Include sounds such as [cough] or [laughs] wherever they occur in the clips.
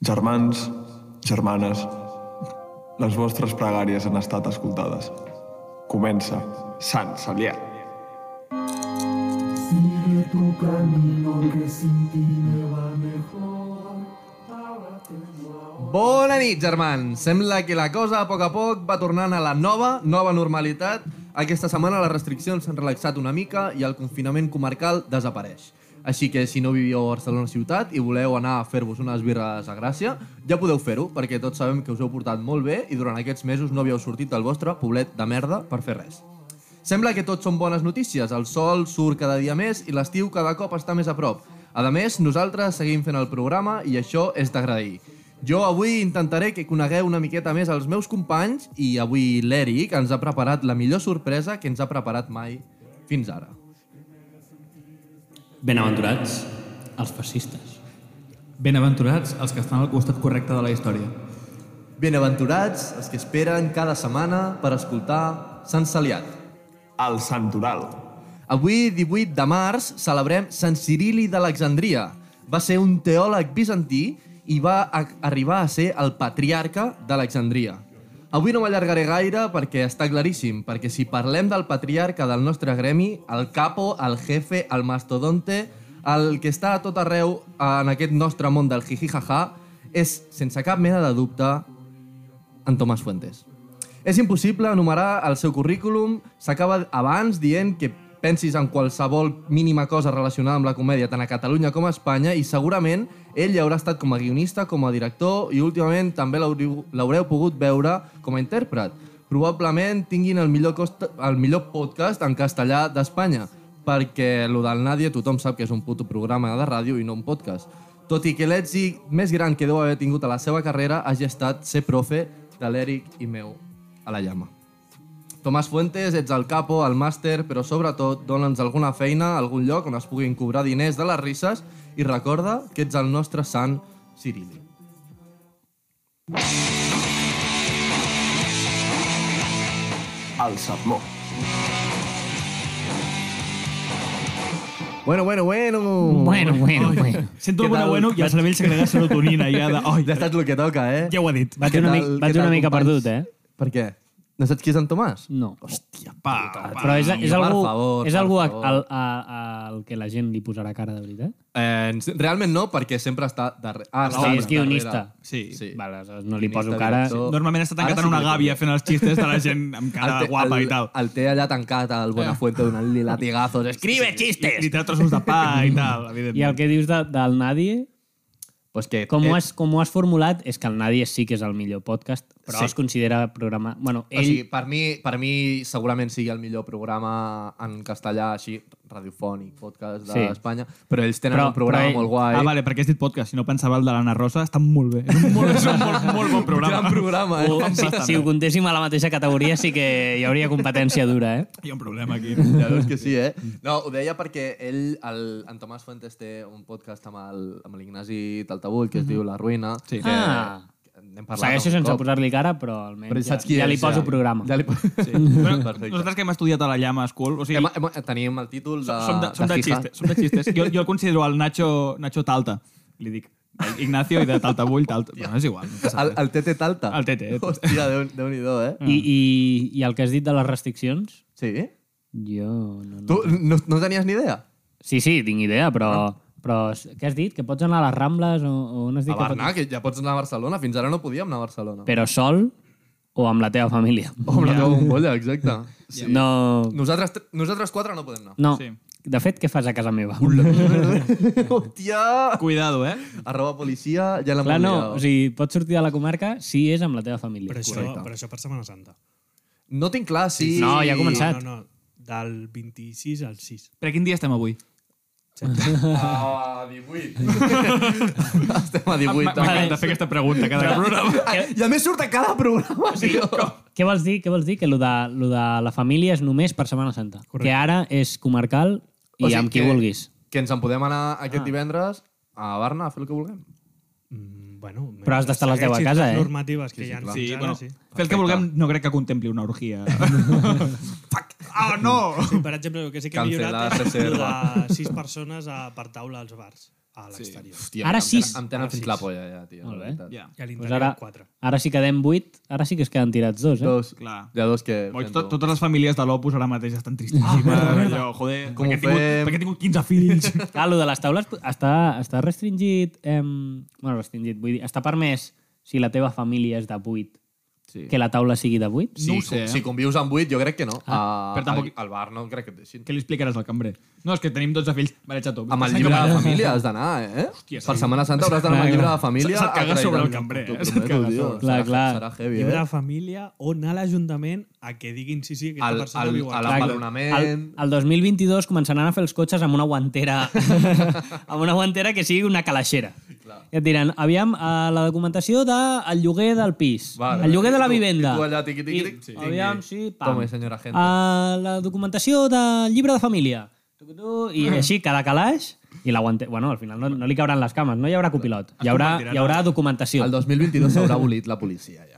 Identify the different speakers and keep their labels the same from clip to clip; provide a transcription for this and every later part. Speaker 1: Germans, germanes, les vostres pregàries han estat escoltades. Comença Sant Salià.
Speaker 2: Sigue tu camino que sin ti me va mejor. Ahora tengo ahora.
Speaker 3: Bona nit, germans! Sembla que la cosa a poc a poc va tornant a la nova, nova normalitat. Aquesta setmana les restriccions s'han relaxat una mica i el confinament comarcal desapareix. Així que si no viviu a Barcelona ciutat i voleu anar a fer-vos unes birres a Gràcia, ja podeu fer-ho, perquè tots sabem que us heu portat molt bé i durant aquests mesos no havíeu sortit del vostre poblet de merda per fer res. Sembla que tot són bones notícies. El sol surt cada dia més i l'estiu cada cop està més a prop. A més, nosaltres seguim fent el programa i això és d'agrair. Jo avui intentaré que conegueu una miqueta més els meus companys i avui l'Eric ens ha preparat la millor sorpresa que ens ha preparat mai fins ara.
Speaker 4: Benaventurats els fascistes.
Speaker 5: Benaventurats els que estan al costat correcte de la història.
Speaker 3: Benaventurats els que esperen cada setmana per escoltar Sant Saliat.
Speaker 1: El Santoral.
Speaker 3: Avui, 18 de març, celebrem Sant Cirili d'Alexandria. Va ser un teòleg bizantí i va a arribar a ser el patriarca d'Alexandria. Avui no m'allargaré gaire perquè està claríssim, perquè si parlem del patriarca del nostre gremi, el capo, el jefe, el mastodonte, el que està a tot arreu en aquest nostre món del jijijaja, és, sense cap mena de dubte, en Tomàs Fuentes. És impossible enumerar el seu currículum, s'acaba abans dient que pensis en qualsevol mínima cosa relacionada amb la comèdia tant a Catalunya com a Espanya i segurament ell hi haurà estat com a guionista, com a director i últimament també l'haureu l'haureu pogut veure com a intèrpret. Probablement tinguin el millor, cost, el millor podcast en castellà d'Espanya perquè lo del Nàdia tothom sap que és un puto programa de ràdio i no un podcast. Tot i que l'èxit més gran que deu haver tingut a la seva carrera hagi estat ser profe de l'Eric i meu a la llama. Tomàs Fuentes, ets el capo, el màster, però sobretot dona'ns alguna feina, algun lloc on es puguin cobrar diners de les risses i recorda que ets el nostre sant Cirili.
Speaker 1: El Sermó.
Speaker 3: Bueno, bueno, bueno.
Speaker 4: Bueno, bueno, bueno.
Speaker 5: Sento
Speaker 3: Què
Speaker 5: el bueno
Speaker 3: tal?
Speaker 5: bueno i el cervell segrega serotonina. Ja, de... Ai,
Speaker 3: Ja ha estat el que toca, eh?
Speaker 5: ja ho ha dit.
Speaker 4: Vaig
Speaker 3: Què
Speaker 4: una,
Speaker 3: tal-
Speaker 4: mica, vaig
Speaker 3: què tal,
Speaker 4: una mica
Speaker 3: companys?
Speaker 4: perdut, eh?
Speaker 3: Per què? No saps qui és en Tomàs?
Speaker 4: No.
Speaker 3: Hòstia,
Speaker 5: Pa,
Speaker 4: Però és, és
Speaker 3: per
Speaker 4: algú,
Speaker 3: favor,
Speaker 4: és
Speaker 3: per
Speaker 4: algú a-
Speaker 3: favor.
Speaker 4: al, a, al que la gent li posarà cara de veritat.
Speaker 3: Eh, realment no, perquè sempre està darrere. Ah,
Speaker 4: Sí,
Speaker 3: està
Speaker 4: és guionista.
Speaker 3: darrere.
Speaker 5: Sí.
Speaker 3: Sí.
Speaker 4: Vale, aleshores no li
Speaker 3: Guionista,
Speaker 4: poso cara...
Speaker 3: director.
Speaker 5: Normalment està
Speaker 3: Ara
Speaker 5: tancat
Speaker 3: sí
Speaker 5: en una
Speaker 3: que ho
Speaker 5: gàbia
Speaker 3: dic.
Speaker 5: fent els xistes de la gent amb cara
Speaker 3: El té-
Speaker 5: de guapa
Speaker 3: el,
Speaker 5: i tal.
Speaker 3: El té allà tancat al Buenafuente donant-li latigazos. Escribe
Speaker 5: I
Speaker 3: chistes!
Speaker 5: té trossos de pa i
Speaker 4: I
Speaker 5: tal,
Speaker 4: el
Speaker 5: evidentment.
Speaker 4: que dius de, del Nadie,
Speaker 3: Pues que,
Speaker 4: com ho,
Speaker 3: eh,
Speaker 4: has, com ho has formulat, és que el Nadie sí que és el millor podcast, però
Speaker 3: Sí.
Speaker 4: es considera programa... Bueno,
Speaker 3: Ell... O
Speaker 4: ell...
Speaker 3: sigui, per mi, per mi segurament sigui el millor programa en castellà, així, radiofònic, podcast
Speaker 4: Sí.
Speaker 3: d'Espanya, sí. però ells tenen
Speaker 4: Però-
Speaker 3: un programa
Speaker 4: però ell-
Speaker 3: molt guai.
Speaker 5: Ah,
Speaker 3: [laughs]
Speaker 5: vale, perquè has dit podcast. Si no pensava el de l'Anna Rosa, està molt bé. És un molt, és un molt, molt bon programa.
Speaker 3: Gran programa,
Speaker 4: [laughs]
Speaker 3: eh?
Speaker 4: O, si,
Speaker 5: bastant
Speaker 4: si ho contéssim a la mateixa categoria sí que hi hauria competència dura, eh?
Speaker 5: Hi ha un problema aquí.
Speaker 3: Ja veus que sí, eh? No, ho deia perquè ell, el, en Tomàs Fuentes, té un podcast amb el- amb l'Ignasi Taltabull, que es diu La Ruïna. Sí. Que,
Speaker 4: Ah.
Speaker 3: que n'hem parlat
Speaker 4: Segueixo
Speaker 3: algun
Speaker 4: sense
Speaker 3: cop.
Speaker 4: posar-li cara, però almenys
Speaker 3: Però
Speaker 4: ja,
Speaker 3: saps qui
Speaker 4: ja li
Speaker 3: és,
Speaker 4: poso programa.
Speaker 3: Ja li po sí.
Speaker 5: Però
Speaker 3: Perfecte.
Speaker 5: nosaltres que hem estudiat a la Llama School, o sigui,
Speaker 3: Hem, hem, tenim el títol de...
Speaker 5: som de, som de,
Speaker 3: Hija.
Speaker 5: xistes. Som de xistes. Jo, jo el considero el Nacho, Nacho Talta. Li dic Ignacio i de Taltabull, Talta. Bueno, és igual. No passa
Speaker 3: El,
Speaker 5: res.
Speaker 3: el Tete Talta.
Speaker 5: El Tete.
Speaker 3: Hòstia, déu- Déu-n'hi-do, eh?
Speaker 4: I, i, I el que has dit de les restriccions?
Speaker 3: Sí?
Speaker 4: Jo no... no.
Speaker 3: Tu no, no tenies ni idea?
Speaker 4: Sí, sí, tinc idea, però... Però s- què has dit? Que pots anar a les Rambles o, o on has dit
Speaker 3: A Barna,
Speaker 4: que
Speaker 3: que ja pots anar a Barcelona. Fins ara no podíem anar a Barcelona.
Speaker 4: pots... Però sol o amb la teva família?
Speaker 3: O amb la teva bombolla, exacte.
Speaker 4: Sí. No...
Speaker 3: Nosaltres, tre- nosaltres quatre no podem anar.
Speaker 4: No.
Speaker 5: Sí.
Speaker 4: Sí. De fet, què fas a casa meva?
Speaker 3: [laughs] Hòstia!
Speaker 5: Cuidado, eh?
Speaker 3: Arroba policia, ja l'hem
Speaker 4: [laughs] Clar, no.
Speaker 3: oblidat.
Speaker 4: O sigui, pots sortir de la comarca si és amb la teva família.
Speaker 6: Però això,
Speaker 3: Correcte.
Speaker 6: però això per Setmana Santa.
Speaker 3: No tinc clar si...
Speaker 4: No, ja ha començat.
Speaker 6: No, no, del 26 al 6.
Speaker 5: Per quin dia estem avui?
Speaker 3: A
Speaker 4: [laughs]
Speaker 3: 18. Ah, Estem a 18.
Speaker 4: Ah,
Speaker 3: també.
Speaker 5: M'encanta fer aquesta pregunta cada
Speaker 4: [laughs]
Speaker 5: programa.
Speaker 3: Ai, I a més surt a cada programa, tio.
Speaker 4: Què vols dir? Què vols dir? Que lo de, lo de la família és només per Setmana Santa.
Speaker 6: Correcte.
Speaker 4: Que ara és comarcal i
Speaker 3: O sigui
Speaker 4: amb qui
Speaker 3: que-
Speaker 4: vulguis. Ah.
Speaker 3: Que ens en podem anar aquest divendres a Barna a fer el que vulguem.
Speaker 6: Mm, bueno,
Speaker 4: Però has d'estar a les deu a
Speaker 6: segueixis
Speaker 4: casa,
Speaker 6: les
Speaker 4: eh?
Speaker 6: normatives
Speaker 3: Sí,
Speaker 6: que
Speaker 3: sí,
Speaker 6: hi ha
Speaker 3: clar.
Speaker 5: Sí,
Speaker 6: fins ara,
Speaker 5: bueno,
Speaker 6: sí.
Speaker 5: fer el que vulguem no crec que contempli una orgia. Fuck! Oh, no!
Speaker 6: [laughs] Sí, per exemple, el que sí que he
Speaker 3: Cancela,
Speaker 6: [laughs] millorat és el
Speaker 3: reserva.
Speaker 6: de 6 persones a, per taula als bars. a l'exterior. Sí.
Speaker 5: Hòstia,
Speaker 4: Ara
Speaker 5: em
Speaker 4: sis.
Speaker 3: Em tenen fins la polla, ja, tio.
Speaker 4: Molt
Speaker 3: la
Speaker 4: bé.
Speaker 3: veritat.
Speaker 5: tenen- Ja.
Speaker 6: I a
Speaker 4: Pues
Speaker 6: l'interior
Speaker 4: ara,
Speaker 6: pues 4.
Speaker 4: ara sí quedem vuit, ara sí que es queden tirats dos, eh?
Speaker 3: Dos.
Speaker 5: Clar.
Speaker 3: Hi ha dos que...
Speaker 5: Boig,
Speaker 3: fem
Speaker 5: tot,
Speaker 3: tu.
Speaker 5: totes les famílies de l'Opus ara mateix estan tristíssimes. Ah, allò, joder,
Speaker 3: Com ho
Speaker 5: perquè, he tingut,
Speaker 3: fem?
Speaker 5: perquè he tingut 15 fills.
Speaker 4: Clar, lo de les taules està, està restringit... Em... Bueno, restringit, vull dir, està permès si la teva família és de 8,
Speaker 5: Sí.
Speaker 4: que la taula sigui de 8?
Speaker 5: No ho
Speaker 3: si,
Speaker 5: sé, eh?
Speaker 3: si convius amb 8, jo crec que no. Ah,
Speaker 5: però tampoc-
Speaker 3: al, al bar no crec que et deixin.
Speaker 5: [laughs] Què li explicaràs al cambrer? No, és que tenim 12 fills. Vale, xato.
Speaker 3: Amb el llibre de família has d'anar, eh?
Speaker 5: Hòstia, sí.
Speaker 3: per Setmana Santa hauràs d'anar amb el
Speaker 4: Clar,
Speaker 3: llibre
Speaker 4: clar.
Speaker 3: de família.
Speaker 5: Se't caga
Speaker 3: acreditant.
Speaker 5: sobre el cambrer, eh?
Speaker 3: T'ho
Speaker 5: Se't
Speaker 3: prometo,
Speaker 5: caga
Speaker 3: tio.
Speaker 5: sobre.
Speaker 4: Clar,
Speaker 3: Serà-
Speaker 4: clar.
Speaker 3: Serà heavy,
Speaker 6: Llibre
Speaker 3: eh?
Speaker 6: de família o anar a l'Ajuntament a que diguin sí, sí, aquesta
Speaker 3: Al-
Speaker 6: al, persona
Speaker 3: al-
Speaker 6: al,
Speaker 3: a
Speaker 6: viu aquí.
Speaker 3: la-
Speaker 4: Clar,
Speaker 3: L'abandonament.
Speaker 4: El, el 2022 començaran a fer els cotxes amb una guantera
Speaker 3: [laughs]
Speaker 4: amb una guantera que sigui una calaixera. I et diran, aviam, a la documentació del el lloguer del pis,
Speaker 3: Vale.
Speaker 4: el lloguer de la
Speaker 3: I tu-
Speaker 4: vivenda.
Speaker 3: i tu allà, tiqui, tiqui, tiqui.
Speaker 4: I, aviam, sí, pam. Ah,
Speaker 3: Tome, senyora gente.
Speaker 4: A la documentació del llibre de família. Tu, tu, tu, I així, cada calaix, i la guantera... Bueno, al final no, no li cabran les cames, no hi haurà copilot. Hi haurà, hi haurà documentació.
Speaker 3: El 2022 s'haurà abolit la policia, ja.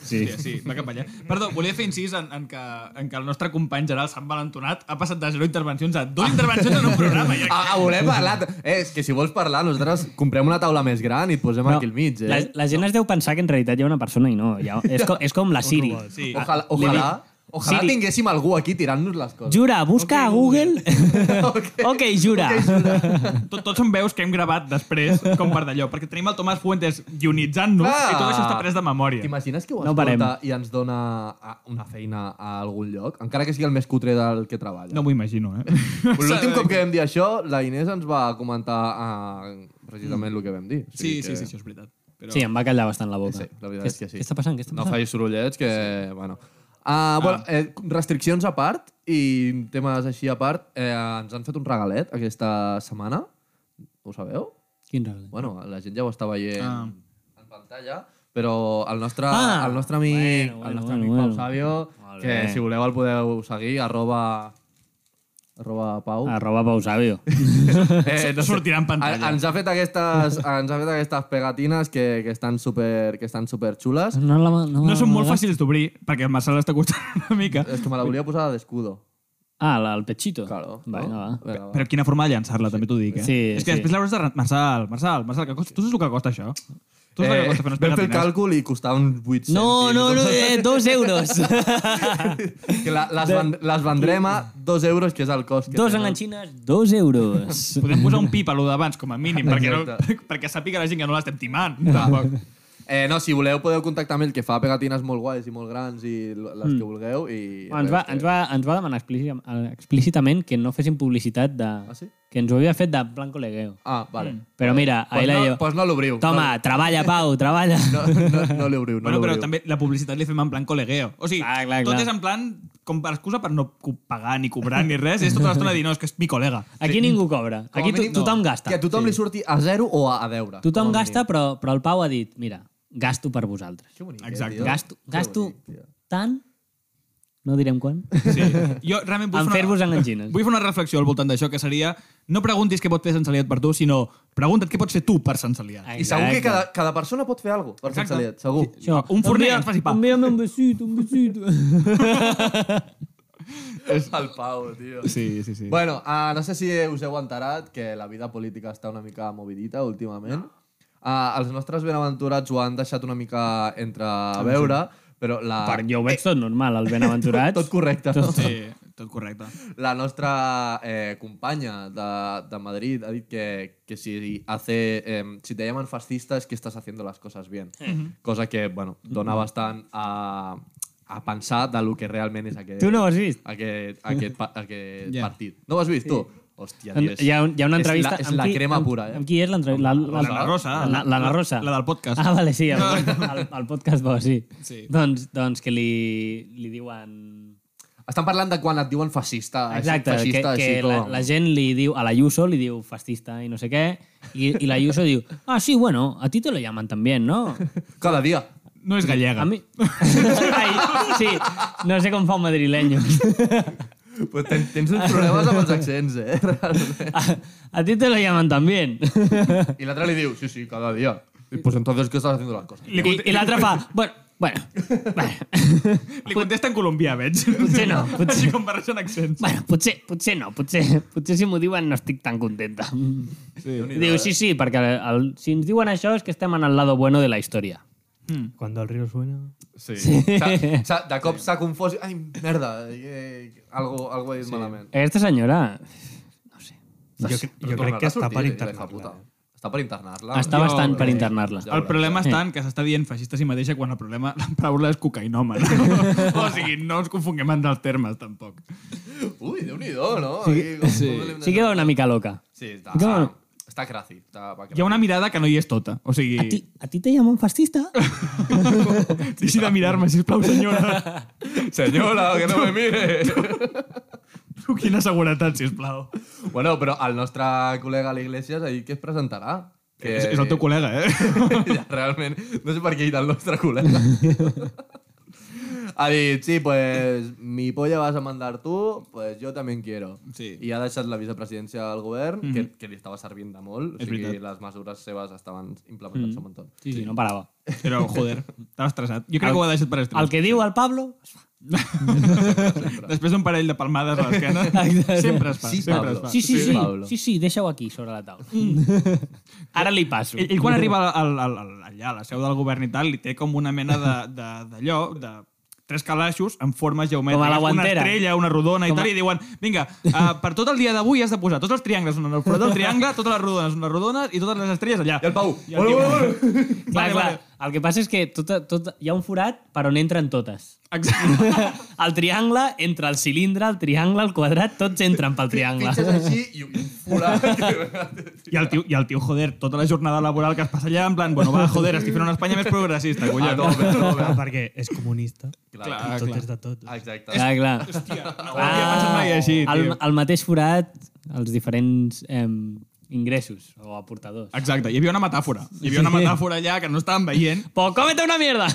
Speaker 5: Sí. Hòstia, sí, va cap allà. Perdó, volia fer incís en, en, que, en que el nostre company Gerard Sant Valentonat ha passat de zero intervencions a dues intervencions en un programa. I
Speaker 3: Ah, ah, volem parlar... Eh, és que si vols parlar, nosaltres comprem una taula més gran i et posem aquí al mig, eh?
Speaker 4: la, la gent es deu pensar que en realitat hi ha una persona i no. Hi ha, és, com, és com la Siri.
Speaker 6: robot,
Speaker 5: sí.
Speaker 3: Ojalà, ojalà, ojalà
Speaker 4: Siri.
Speaker 3: tinguéssim algú aquí tirant-nos les coses.
Speaker 4: Jura, busca a Google.
Speaker 3: [laughs] Ok.
Speaker 4: ok, jura. [laughs]
Speaker 5: Tot, tots són veus que hem gravat després com per d'allò, perquè tenim el Tomàs Fuentes guionitzant-nos
Speaker 3: Clar.
Speaker 5: i tot això està pres de memòria.
Speaker 3: T'imagines que ho
Speaker 4: No
Speaker 3: escolta
Speaker 4: parem.
Speaker 3: i ens dona ah, una feina a algun lloc? Encara que sigui el més cutre del que treballa.
Speaker 5: No m'ho imagino, eh?
Speaker 3: L'últim cop que vam dir això, la Inés ens va comentar ah,
Speaker 4: Mm.
Speaker 3: precisament el que vam dir. O
Speaker 5: Sí,
Speaker 3: sigui
Speaker 5: sí,
Speaker 3: que-
Speaker 5: sí, això és veritat. Però...
Speaker 4: Sí, em va callar bastant la boca.
Speaker 3: Sí, la veritat
Speaker 4: Què-
Speaker 3: és que sí.
Speaker 4: Què està passant? Què està
Speaker 3: No
Speaker 4: passant? Ah.
Speaker 3: facis sorollets, que... Bueno. Uh, bueno, eh, restriccions a part i temes així a part, eh, ens han fet un regalet aquesta setmana. Ho sabeu?
Speaker 4: Quin regal?
Speaker 3: Bueno, la gent ja ho està veient
Speaker 5: Ah.
Speaker 3: en pantalla, però el nostre,
Speaker 4: Ah!
Speaker 3: el nostre amic,
Speaker 4: Bueno, bueno,
Speaker 3: el nostre
Speaker 4: bueno,
Speaker 3: amic
Speaker 4: bueno.
Speaker 3: Pau Sabio,
Speaker 4: Molt
Speaker 3: que
Speaker 4: bé.
Speaker 3: si voleu el podeu seguir, arroba, arroba Pau. [laughs]
Speaker 4: Arroba Pausavio.
Speaker 3: Eh, no sé.
Speaker 5: Sortirà en pantalla.
Speaker 3: A- Ens ha fet aquestes, ens ha fet aquestes pegatines que, que estan super, que estan super xules.
Speaker 4: No, la, no,
Speaker 5: No són molt
Speaker 4: la-
Speaker 5: fàcils d'obrir, perquè el Marçal està costant una mica.
Speaker 3: És que me la volia posar d'escudo.
Speaker 4: Ah, la, el pechito.
Speaker 3: Claro.
Speaker 4: Va,
Speaker 3: no?
Speaker 4: no? va.
Speaker 3: Vinga, va.
Speaker 5: Però quina forma de llançar-la, també t'ho dic, eh?
Speaker 4: Sí,
Speaker 5: És que
Speaker 4: sí.
Speaker 5: després l'hauràs de... re- Marçal, Marçal, Marçal, que costa... tu saps el que costa això? Tu saps el que costa fer unes
Speaker 3: vam fer Eh, el
Speaker 5: pegatines?
Speaker 3: càlcul i costava uns 800.
Speaker 4: No, no, no, eh, dos
Speaker 3: [laughs]
Speaker 4: euros.
Speaker 3: Que la, les, van, les vendrem a 2 euros, que és el cost. Que
Speaker 4: dos
Speaker 3: tenen.
Speaker 4: enganxines, dos euros.
Speaker 5: Podem posar un pip a lo d'abans, com a mínim, perquè, no, [laughs]
Speaker 3: Exacte.
Speaker 5: perquè sàpiga la gent que no l'estem timant, tampoc.
Speaker 3: Eh, no, si voleu podeu contactar amb ell, que fa pegatines molt guais i molt grans i l- les que vulgueu. I
Speaker 4: Mm. ens, va, ens, va, ens va demanar explícit- explícitament que no féssim publicitat de...
Speaker 3: Ah, sí?
Speaker 4: Que ens ho havia fet de Blanco Legueo.
Speaker 3: Ah, vale.
Speaker 4: Mm. Però mira,
Speaker 3: Pues
Speaker 4: ahí la
Speaker 3: no-
Speaker 4: llevo.
Speaker 3: pues no l'obriu.
Speaker 4: Toma, treballa, Pau, treballa.
Speaker 3: [laughs] No, no, no l'obriu, no
Speaker 5: bueno, però
Speaker 3: l'obriu.
Speaker 5: també la publicitat li fem en plan col·legueo. O sigui,
Speaker 4: Clar, clar,
Speaker 5: tot
Speaker 4: clar.
Speaker 5: és en plan, com per excusa per no co- pagar ni cobrar ni res, és tota l'estona dir, no, és que és mi col·lega.
Speaker 4: Aquí ningú cobra.
Speaker 3: Com a
Speaker 4: Aquí to
Speaker 3: mínim,
Speaker 4: tothom
Speaker 3: no.
Speaker 4: gasta.
Speaker 3: Que a tothom li surti a 0 o a, a deure.
Speaker 4: Tothom
Speaker 3: com a
Speaker 4: gasta, però, però el Pau ha dit, mira, gasto per vosaltres.
Speaker 3: mínim. Que bonic, eh,
Speaker 5: Exacte.
Speaker 3: tio?
Speaker 4: Gasto,
Speaker 3: Que
Speaker 4: gasto
Speaker 3: bonic, tio.
Speaker 4: tant, no direm
Speaker 3: [laughs]
Speaker 4: quan,
Speaker 5: Sí. Jo realment vull
Speaker 4: en
Speaker 5: fer,
Speaker 4: fer-vos
Speaker 5: una,
Speaker 4: enganxines.
Speaker 5: vull fer una reflexió al voltant d'això, que seria, no preguntis què pot fer Sant Saliat per tu, sinó pregunta't què pots fer tu per Sant Saliat.
Speaker 3: I segur que cada, cada persona pot fer alguna cosa per Sant
Speaker 5: Exacte.
Speaker 3: Saliet, segur.
Speaker 4: Això,
Speaker 5: Un forner
Speaker 4: envia-
Speaker 5: ens faci pa.
Speaker 4: Envia'm un besito, un besito.
Speaker 3: És el Pau, tio.
Speaker 5: Sí, sí, sí.
Speaker 3: Bueno, uh, no sé si us heu enterat que la vida política està una mica movidita últimament. Uh, els nostres benaventurats ho han deixat una mica entre veure, però la,
Speaker 4: Per, jo ho veig tot normal, el Benaventurats.
Speaker 3: Ah, [laughs] tot correcte. No?
Speaker 5: Sí, [laughs] tot correcte.
Speaker 3: La nostra eh, companya de, de Madrid ha dit que, que si, hace, eh, si te llaman fascista es que estás haciendo las cosas bien. Cosa que, bueno, dona bastant a, a pensar de lo que realment és aquest,
Speaker 4: Tu no ho has vist?
Speaker 3: aquest, aquest, pa- aquest
Speaker 5: Ja.
Speaker 3: partit. No ho has vist, tu? Hòstia, tio, és,
Speaker 4: Hi ha, un- hi ha una entrevista...
Speaker 3: És la, és
Speaker 4: amb
Speaker 3: la
Speaker 4: qui-
Speaker 3: crema
Speaker 4: amb-
Speaker 3: pura, eh?
Speaker 4: Amb qui és l'entrevista?
Speaker 5: La Ana Rosa. eh?
Speaker 4: La, la, Ana Rosa.
Speaker 5: La del podcast.
Speaker 4: Ah, vale, sí, el, [laughs] el, el podcast bo, sí.
Speaker 5: Sí.
Speaker 4: Doncs, doncs que li, li diuen...
Speaker 3: Estan parlant de quan et diuen fascista. així,
Speaker 4: Exacte, que,
Speaker 3: fascista,
Speaker 4: que
Speaker 3: així,
Speaker 4: la,
Speaker 3: com-
Speaker 4: la gent li diu, a la Ayuso li diu fascista i no sé què, i, i la Ayuso diu, ah, sí, bueno, a ti te lo llaman también, ¿no?
Speaker 3: Cada dia.
Speaker 5: No és
Speaker 4: A
Speaker 5: gallega.
Speaker 4: mí... [laughs] Ai, sí, no sé com fa un madrileño.
Speaker 3: Pues ten, tens uns problemes amb els accents, [laughs] eh? Realment.
Speaker 4: [laughs] A, a ti te lo llaman también.
Speaker 3: I l'altre li diu, sí, sí, cada dia. I, pues entonces, ¿qué estás haciendo las cosas?
Speaker 4: I, i l'altre fa, bueno, Bueno, bueno.
Speaker 5: Li contesta en colombià, veig.
Speaker 4: Potser no, potser-
Speaker 5: [laughs] Així com barregen accents.
Speaker 4: Bueno, potser, potser no, potser, potser si m'ho diuen no estic tan contenta. Sí, Diu, sí, sí, perquè el, si ens diuen això és que estem en el lado bueno de la història.
Speaker 6: Cuando el río suena...
Speaker 7: Sí. sí.
Speaker 3: S'ha- s'ha- De cop s'ha confós. Ai, merda, eh, algo, algo he dit sí. malament.
Speaker 4: Aquesta senyora
Speaker 6: Jo, cre- jo crec que està per
Speaker 3: eh, puta.
Speaker 6: internet.
Speaker 3: Està per internar-la.
Speaker 4: està
Speaker 5: jo-
Speaker 4: bastant per
Speaker 3: eh,
Speaker 4: internar-la.
Speaker 3: ja
Speaker 5: El problema està en que s'està dient feixista a si mateixa quan el problema, la paraula és cocainòman. [laughs] o sigui, no ens confonguem entre els termes, tampoc.
Speaker 3: Ui, déu-n'hi-do, no? Sí, com, sí. Com
Speaker 4: Sí que va una mica loca.
Speaker 3: sí està,
Speaker 4: Sí que va-
Speaker 3: està crazy. Està va
Speaker 5: Hi ha una mirada que no hi és tota. O sigui,
Speaker 4: A ti, a ti te llaman fascista?
Speaker 5: deixi de mirar-me, sisplau, senyora. [laughs]
Speaker 3: Senyora, que no me mire.
Speaker 5: [laughs] Quina seguretat, sisplau.
Speaker 3: bueno, però el nostre col·lega a l'Iglesias ahir què es presentarà?
Speaker 5: Que... És, és el
Speaker 3: [laughs]
Speaker 5: teu col·lega, eh?
Speaker 3: ja, realment, no sé per què he dit el nostre
Speaker 5: [laughs]
Speaker 3: col·lega. ha dit, sí, pues mi polla vas a mandar tu, pues jo també quiero.
Speaker 5: Sí. Mhm.
Speaker 3: I ha deixat la vicepresidència al govern, mm -hmm. que, que li estava servint de molt. O
Speaker 5: És
Speaker 3: sigui,
Speaker 5: veritat. Mhm.
Speaker 3: les mesures seves estaven implementant-se mm -hmm. un munt.
Speaker 4: Sí, sí, no parava.
Speaker 5: [laughs] Però, joder, t'has estressat. Jo crec que ho ha deixat per estrès.
Speaker 4: El que diu el Pablo...
Speaker 5: Després d'un parell de palmades a l'esquena,
Speaker 4: [laughs] Exacte.
Speaker 5: sempre es fa.
Speaker 3: Sí,
Speaker 5: sempre
Speaker 3: Pablo.
Speaker 5: es fa.
Speaker 4: Sí, sí, sí,
Speaker 3: Pablo.
Speaker 4: sí, sí deixa-ho aquí, sobre la taula. Ara li passo.
Speaker 5: Ell, ell quan arriba al, al, al, allà a la seu del govern i tal, li té com una mena de- de- d'allò, de, de tres calaixos en formes
Speaker 4: Com a la
Speaker 5: geomètriques, una
Speaker 4: guantera.
Speaker 5: estrella, una rodona i
Speaker 4: Com a-
Speaker 5: tal, i diuen, vinga, uh, per tot el dia d'avui has de posar tots els triangles, una al forat del triangle, totes les rodones, una rodones i totes les estrelles allà.
Speaker 3: I el Pau,
Speaker 5: I el
Speaker 3: "Ole,
Speaker 5: tio-
Speaker 3: ole, ole".
Speaker 4: Clar,
Speaker 5: Vale,
Speaker 4: clar,
Speaker 5: vale.
Speaker 4: el que passa és que tot, tot, hi ha un forat per on entren totes.
Speaker 5: Exacte.
Speaker 4: [laughs] el triangle, entre el cilindre, el triangle, el quadrat, tots entren pel triangle.
Speaker 3: Fitxes així i un forat.
Speaker 5: [laughs]
Speaker 3: [laughs]
Speaker 5: I el, tio, I el tio, joder, tota la jornada laboral que es passa allà, en plan, bueno, va, joder, estic fent una Espanya més progressista,
Speaker 3: a
Speaker 5: collons.
Speaker 3: tope, a tope.
Speaker 6: Ah, perquè és comunista
Speaker 3: Clar, Ah,
Speaker 6: i tot és de tot.
Speaker 3: exacte.
Speaker 4: Clar, clar. Ah,
Speaker 5: No ho havia pensat mai així,
Speaker 4: el,
Speaker 5: tio.
Speaker 4: el mateix forat, els diferents em, ingressos o aportadors.
Speaker 5: Exacte, hi havia una metàfora. Hi havia una metàfora allà que no estàvem veient.
Speaker 4: Pues cómete una mierda!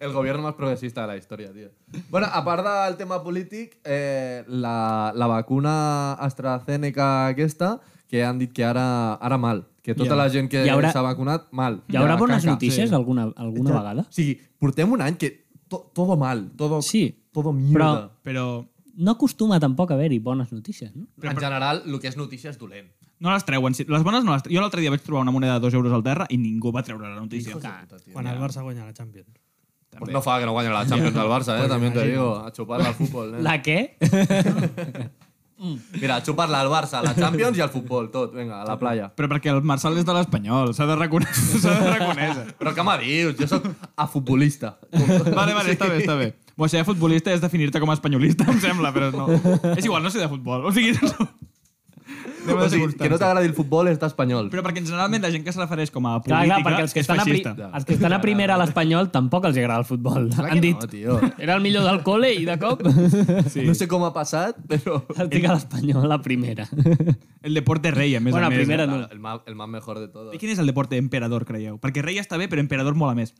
Speaker 3: El gobierno más progresista de la història, tio. Bueno, a part del tema polític, eh, la, la vacuna AstraZeneca aquesta, que han dit que ara, ara mal. Que tota yeah. la gent que
Speaker 4: Hi haurà-
Speaker 3: s'ha vacunat, mal.
Speaker 4: Hi haurà
Speaker 3: Ja,
Speaker 4: bones
Speaker 3: caca.
Speaker 4: notícies alguna, alguna vegada?
Speaker 3: O sigui, portem un any que to, todo mal, todo,
Speaker 4: Sí.
Speaker 3: todo mierda.
Speaker 5: Però
Speaker 4: No acostuma tampoc a haver-hi bones notícies, no?
Speaker 3: Però, en general, el que és notícia és dolent.
Speaker 5: No les treuen. Si- Les bones no les tre- Jo l'altre dia vaig trobar una moneda de 2 euros al terra i ningú va treure la notícia.
Speaker 6: Quan el Barça guanya la Champions.
Speaker 3: Pues no fa que no guanyi la Champions del Barça, eh? També te digo, a xupar al futbol, eh?
Speaker 4: La què?
Speaker 3: Mira, a xupar-la al Barça, la Champions i al futbol, tot. Vinga, a la playa.
Speaker 5: Però perquè el Marçal és de l'Espanyol, s'ha de reconèixer. [laughs] S'ha de reconèixer.
Speaker 3: Però què me dius? Jo sóc afutbolista.
Speaker 5: Vale, vale, està bé, està bé. Bo, ser futbolista és definir-te com a espanyolista, em sembla, però no. És igual, no sé de futbol. O sigui, no. Anem a
Speaker 3: O
Speaker 5: ser
Speaker 3: sigui, que no
Speaker 5: constants.
Speaker 3: t'agradi el futbol està espanyol.
Speaker 5: Però perquè generalment la gent que se refereix com a
Speaker 4: Clar,
Speaker 5: política
Speaker 4: clar, perquè els que,
Speaker 5: és
Speaker 4: estan a, pri
Speaker 5: feixista.
Speaker 4: els que estan a primera a l'Espanyol tampoc els agrada el futbol. Han dit,
Speaker 3: No, tio.
Speaker 4: era el millor del col·le i de [laughs] cop el
Speaker 3: Sí. No sé com ha passat, però...
Speaker 4: tinc a l'Espanyol a primera.
Speaker 5: El deporte rei, a més
Speaker 4: Bueno,
Speaker 5: a més. eh?
Speaker 4: primera no.
Speaker 3: El más, el más mejor de todos.
Speaker 5: I quin és el deporte emperador, creieu? Perquè rei està bé, però emperador mola més.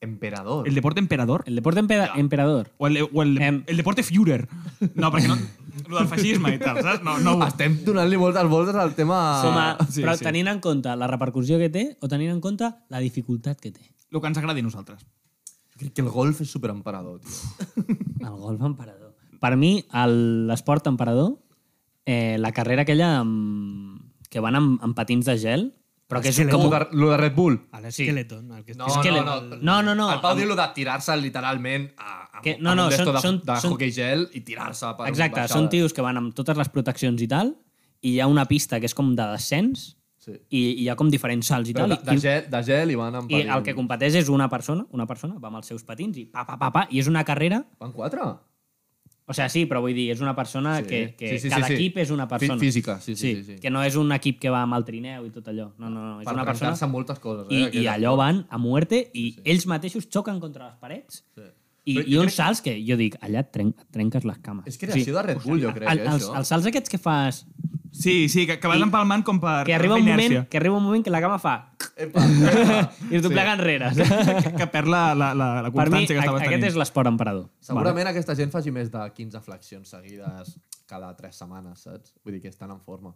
Speaker 3: Emperador.
Speaker 5: El deporte emperador?
Speaker 4: El deporte empeda- emperador.
Speaker 5: O el, o el,
Speaker 4: Em.
Speaker 5: el deporte Führer. No, perquè no... El del feixisme i tal, saps? No, no,
Speaker 3: Estem donant-li moltes voltes al tema...
Speaker 4: Com a,
Speaker 5: sí,
Speaker 4: però
Speaker 5: sí.
Speaker 4: tenint en compte la repercussió que té o tenint en compte la dificultat que té.
Speaker 5: el que ens agradi a nosaltres.
Speaker 3: Crec que el golf és superemperador, tio.
Speaker 4: El golf emperador. Per mi, el- l'esport emperador, eh, la carrera aquella amb, que van amb, amb patins de gel, però que és
Speaker 6: Esqueleto.
Speaker 4: com...
Speaker 3: Com el lo de Red Bull.
Speaker 6: A l'esqueleton, el que
Speaker 3: No,
Speaker 6: és
Speaker 4: És que
Speaker 3: no,
Speaker 4: le-
Speaker 3: no.
Speaker 4: no, no, no.
Speaker 3: El Pau diu lo de tirar-se literalment a, a,
Speaker 4: Que- no,
Speaker 3: no, no, a
Speaker 4: no,
Speaker 3: un
Speaker 4: són-
Speaker 3: són, de,
Speaker 4: són-
Speaker 3: de
Speaker 4: són-
Speaker 3: hockey gel i tirar-se per
Speaker 4: Exacte,
Speaker 3: baixades.
Speaker 4: són tios que van amb totes les proteccions i tal, i hi ha una pista que és com de descens,
Speaker 3: Sí.
Speaker 4: i, i hi ha com diferents salts i
Speaker 3: Però
Speaker 4: tal.
Speaker 3: de, de,
Speaker 4: i-
Speaker 3: gel, de gel i van en
Speaker 4: I el que competeix és una persona, una persona, va amb els seus patins i pa, pa, pa, pa, i és una carrera...
Speaker 3: Van quatre?
Speaker 4: O sigui, sí, però vull dir, és una persona
Speaker 3: Sí.
Speaker 4: que, que
Speaker 3: Sí, sí, sí,
Speaker 4: cada
Speaker 3: sí.
Speaker 4: equip és una persona.
Speaker 3: Fí- física, sí, sí, sí, sí.
Speaker 4: Que no és un equip que va amb el trineu i tot allò. No, no, no, és
Speaker 3: Per
Speaker 4: una persona...
Speaker 3: trencar-se moltes coses,
Speaker 4: I,
Speaker 3: eh?
Speaker 4: I
Speaker 3: aquella.
Speaker 4: allò van a muerte i sí. ells mateixos xoquen contra les parets sí. i,
Speaker 3: Però
Speaker 4: i uns salts que jo dic, allà et tren, et trenques les cames.
Speaker 3: És creació de Red Bull, jo crec,
Speaker 4: el,
Speaker 3: eh,
Speaker 4: els,
Speaker 3: això.
Speaker 4: els salts aquests que fas,
Speaker 5: Sí, sí, que, que vas empalmant com per...
Speaker 4: que arriba, un
Speaker 5: per
Speaker 4: moment,
Speaker 5: inèrcia.
Speaker 4: que arriba un moment que la cama
Speaker 3: [laughs]
Speaker 4: fa
Speaker 3: Epa, epa.
Speaker 4: [laughs] i es doblega sí. enrere.
Speaker 5: [laughs] Que, que perd la, la, la, la
Speaker 4: per mi,
Speaker 5: constància que
Speaker 4: a-
Speaker 5: estaves
Speaker 4: aquest
Speaker 5: tenint.
Speaker 4: és l'esport emperador.
Speaker 3: Segurament aquesta gent
Speaker 7: [laughs]
Speaker 3: faci més de 15 flexions seguides cada 3 setmanes, saps? Vull dir que estan en forma.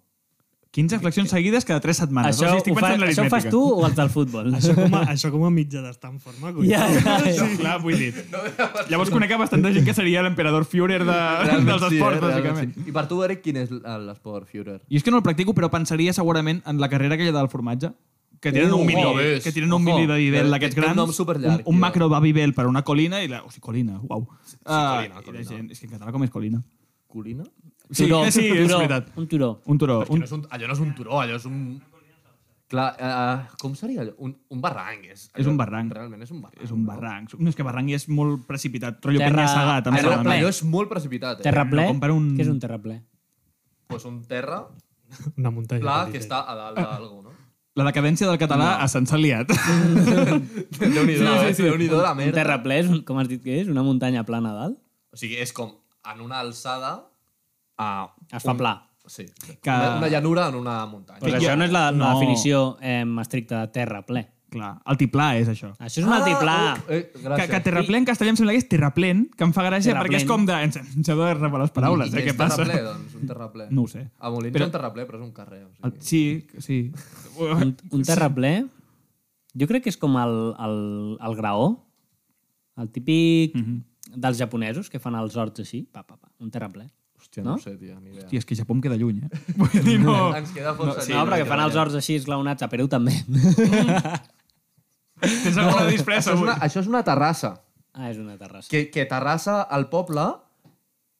Speaker 5: 15 flexions seguides cada 3 setmanes.
Speaker 4: Això,
Speaker 5: o sigui,
Speaker 4: ho
Speaker 5: estic
Speaker 4: fa,
Speaker 5: pensant en
Speaker 4: això ho fas
Speaker 5: l'aritmètica.
Speaker 4: tu o els del futbol?
Speaker 6: Això com a, això com a mitjà d'estar en forma, coi.
Speaker 4: Ja, ja, ja.
Speaker 5: Sí. Clar, vull dir. Llavors conec a bastanta gent que seria l'emperador Führer de,
Speaker 3: Realment
Speaker 5: dels
Speaker 3: sí, eh?
Speaker 5: esports,
Speaker 3: Realment
Speaker 5: bàsicament.
Speaker 3: sí. I per tu, Eric, quin és l'esport Führer?
Speaker 5: I és que no el practico, però pensaria segurament en la carrera aquella del formatge, que tiren
Speaker 3: Uh,
Speaker 5: un mili,
Speaker 3: ja
Speaker 7: ves.
Speaker 5: que tiren un
Speaker 3: Ojo,
Speaker 5: mili de
Speaker 3: té-
Speaker 5: Didel, aquests
Speaker 3: té un
Speaker 5: grans,
Speaker 3: nom superllarg,
Speaker 5: un, un
Speaker 3: tio.
Speaker 5: macro Babibel per una colina, i la... Hosti, colina, uau. Sí,
Speaker 3: colina, colina.
Speaker 5: Gent, és que en català com és colina?
Speaker 3: Colina?
Speaker 5: Sí,
Speaker 4: turó,
Speaker 5: sí, és
Speaker 4: turó,
Speaker 5: veritat.
Speaker 4: Un turó.
Speaker 5: Un turó.
Speaker 7: Però és que
Speaker 5: Un...
Speaker 7: no és un, allò no és un turó, allò és un...
Speaker 3: Clar, eh, com seria allò? Un, un barranc. És,
Speaker 5: És un barranc.
Speaker 3: Realment és un barranc.
Speaker 5: És un barranc. No, és que barranc és molt precipitat. Trollo
Speaker 4: Terra-
Speaker 5: Terra... Penyassagat, també.
Speaker 4: terra
Speaker 3: Allò,
Speaker 4: ple.
Speaker 5: segurament.
Speaker 3: allò és molt precipitat, eh?
Speaker 4: Terraplè?
Speaker 5: No, compara un-
Speaker 4: Què és un terraplè?
Speaker 3: Pues un terra
Speaker 6: Una muntanya.
Speaker 3: pla que
Speaker 6: petita.
Speaker 3: està a dalt d'algú, no? [laughs]
Speaker 5: La decadència del català no. a Sant [laughs] Saliat.
Speaker 3: Déu-n'hi-do, sí, sí, sí. Déu-n'hi-do la
Speaker 4: Un
Speaker 3: merda.
Speaker 4: terraplè és, un- com has dit que és, una muntanya plana a dalt?
Speaker 3: O sigui, és com en una alçada a...
Speaker 4: Es fa pla.
Speaker 3: Sí.
Speaker 5: Que-
Speaker 3: Que... Una, una llanura en una muntanya.
Speaker 4: Però
Speaker 5: Jo-
Speaker 4: això no és la, la
Speaker 5: no.
Speaker 4: definició eh, estricta de terraplè.
Speaker 5: Clar, altiplà és això.
Speaker 4: Això és un altiplà.
Speaker 3: Ah, eh,
Speaker 5: Que,
Speaker 3: gràcies.
Speaker 5: que terraplè en castellà em sembla que és terraplén, que em fa gràcia perquè és
Speaker 4: Terraplén.
Speaker 5: com de... Ens, ens heu de revelar les paraules,
Speaker 3: I
Speaker 5: eh? Què
Speaker 3: és
Speaker 5: passa?
Speaker 3: terraplè, doncs, un terraplè.
Speaker 5: No ho sé.
Speaker 3: A Molins
Speaker 5: Però-
Speaker 3: però... un terraplè, però és un carrer. O
Speaker 5: El-
Speaker 3: sigui.
Speaker 5: Sí, sí. oh.
Speaker 4: Un, un terraplè, jo crec que és com el, el, el graó, el típic
Speaker 5: Mhm.
Speaker 4: dels japonesos que fan els horts així, pa, pa, pa, un terraplè.
Speaker 3: Hòstia, no,
Speaker 4: no?
Speaker 3: no sé, tia, ni idea.
Speaker 5: Hòstia, és que Japó em queda lluny, eh? [laughs] Vull dir, no...
Speaker 3: Ens queda força.
Speaker 4: no, però que fan els horts així esglaonats, a Perú també.
Speaker 5: Tens alguna disfressa,
Speaker 3: Això és,
Speaker 5: avui.
Speaker 3: una, això és una terrassa.
Speaker 4: ah, és una terrassa.
Speaker 3: Que, que terrassa al poble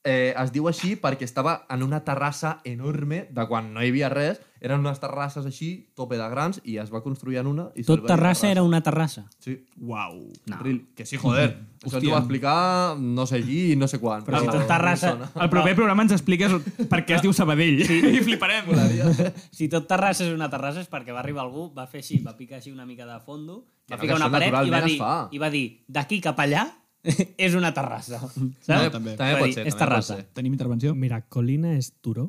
Speaker 3: eh, es diu així perquè estava en una terrassa enorme de quan no hi havia res. Eren unes terrasses així, tope de grans, i es va construir en una. I se li va
Speaker 4: Tot
Speaker 3: dir
Speaker 4: terrassa era una terrassa.
Speaker 3: Sí.
Speaker 5: Uau.
Speaker 4: No.
Speaker 3: Really.
Speaker 7: Que sí, joder.
Speaker 3: Això ens ho va explicar no sé qui i Ah, no sé quan.
Speaker 4: Però si tot Terrassa...
Speaker 5: El proper programa ens expliques per què es diu Sabadell. Sí. [laughs] I fliparem.
Speaker 4: [laughs] Si tot Terrassa és una terrassa és perquè va arribar algú, va fer així, va picar així una mica de fondo,
Speaker 3: no,
Speaker 4: va
Speaker 3: que
Speaker 4: ficar una
Speaker 3: això
Speaker 4: paret i va
Speaker 3: naturalment es
Speaker 4: dir,
Speaker 3: fa.
Speaker 4: i va dir d'aquí cap allà [laughs] és una terrassa. [laughs] Saps?
Speaker 3: També, també, també
Speaker 4: Va dir,
Speaker 3: pot ser.
Speaker 4: És
Speaker 3: també pot
Speaker 4: terrassa.
Speaker 3: ser.
Speaker 5: Tenim intervenció?
Speaker 6: Mira, colina és turó.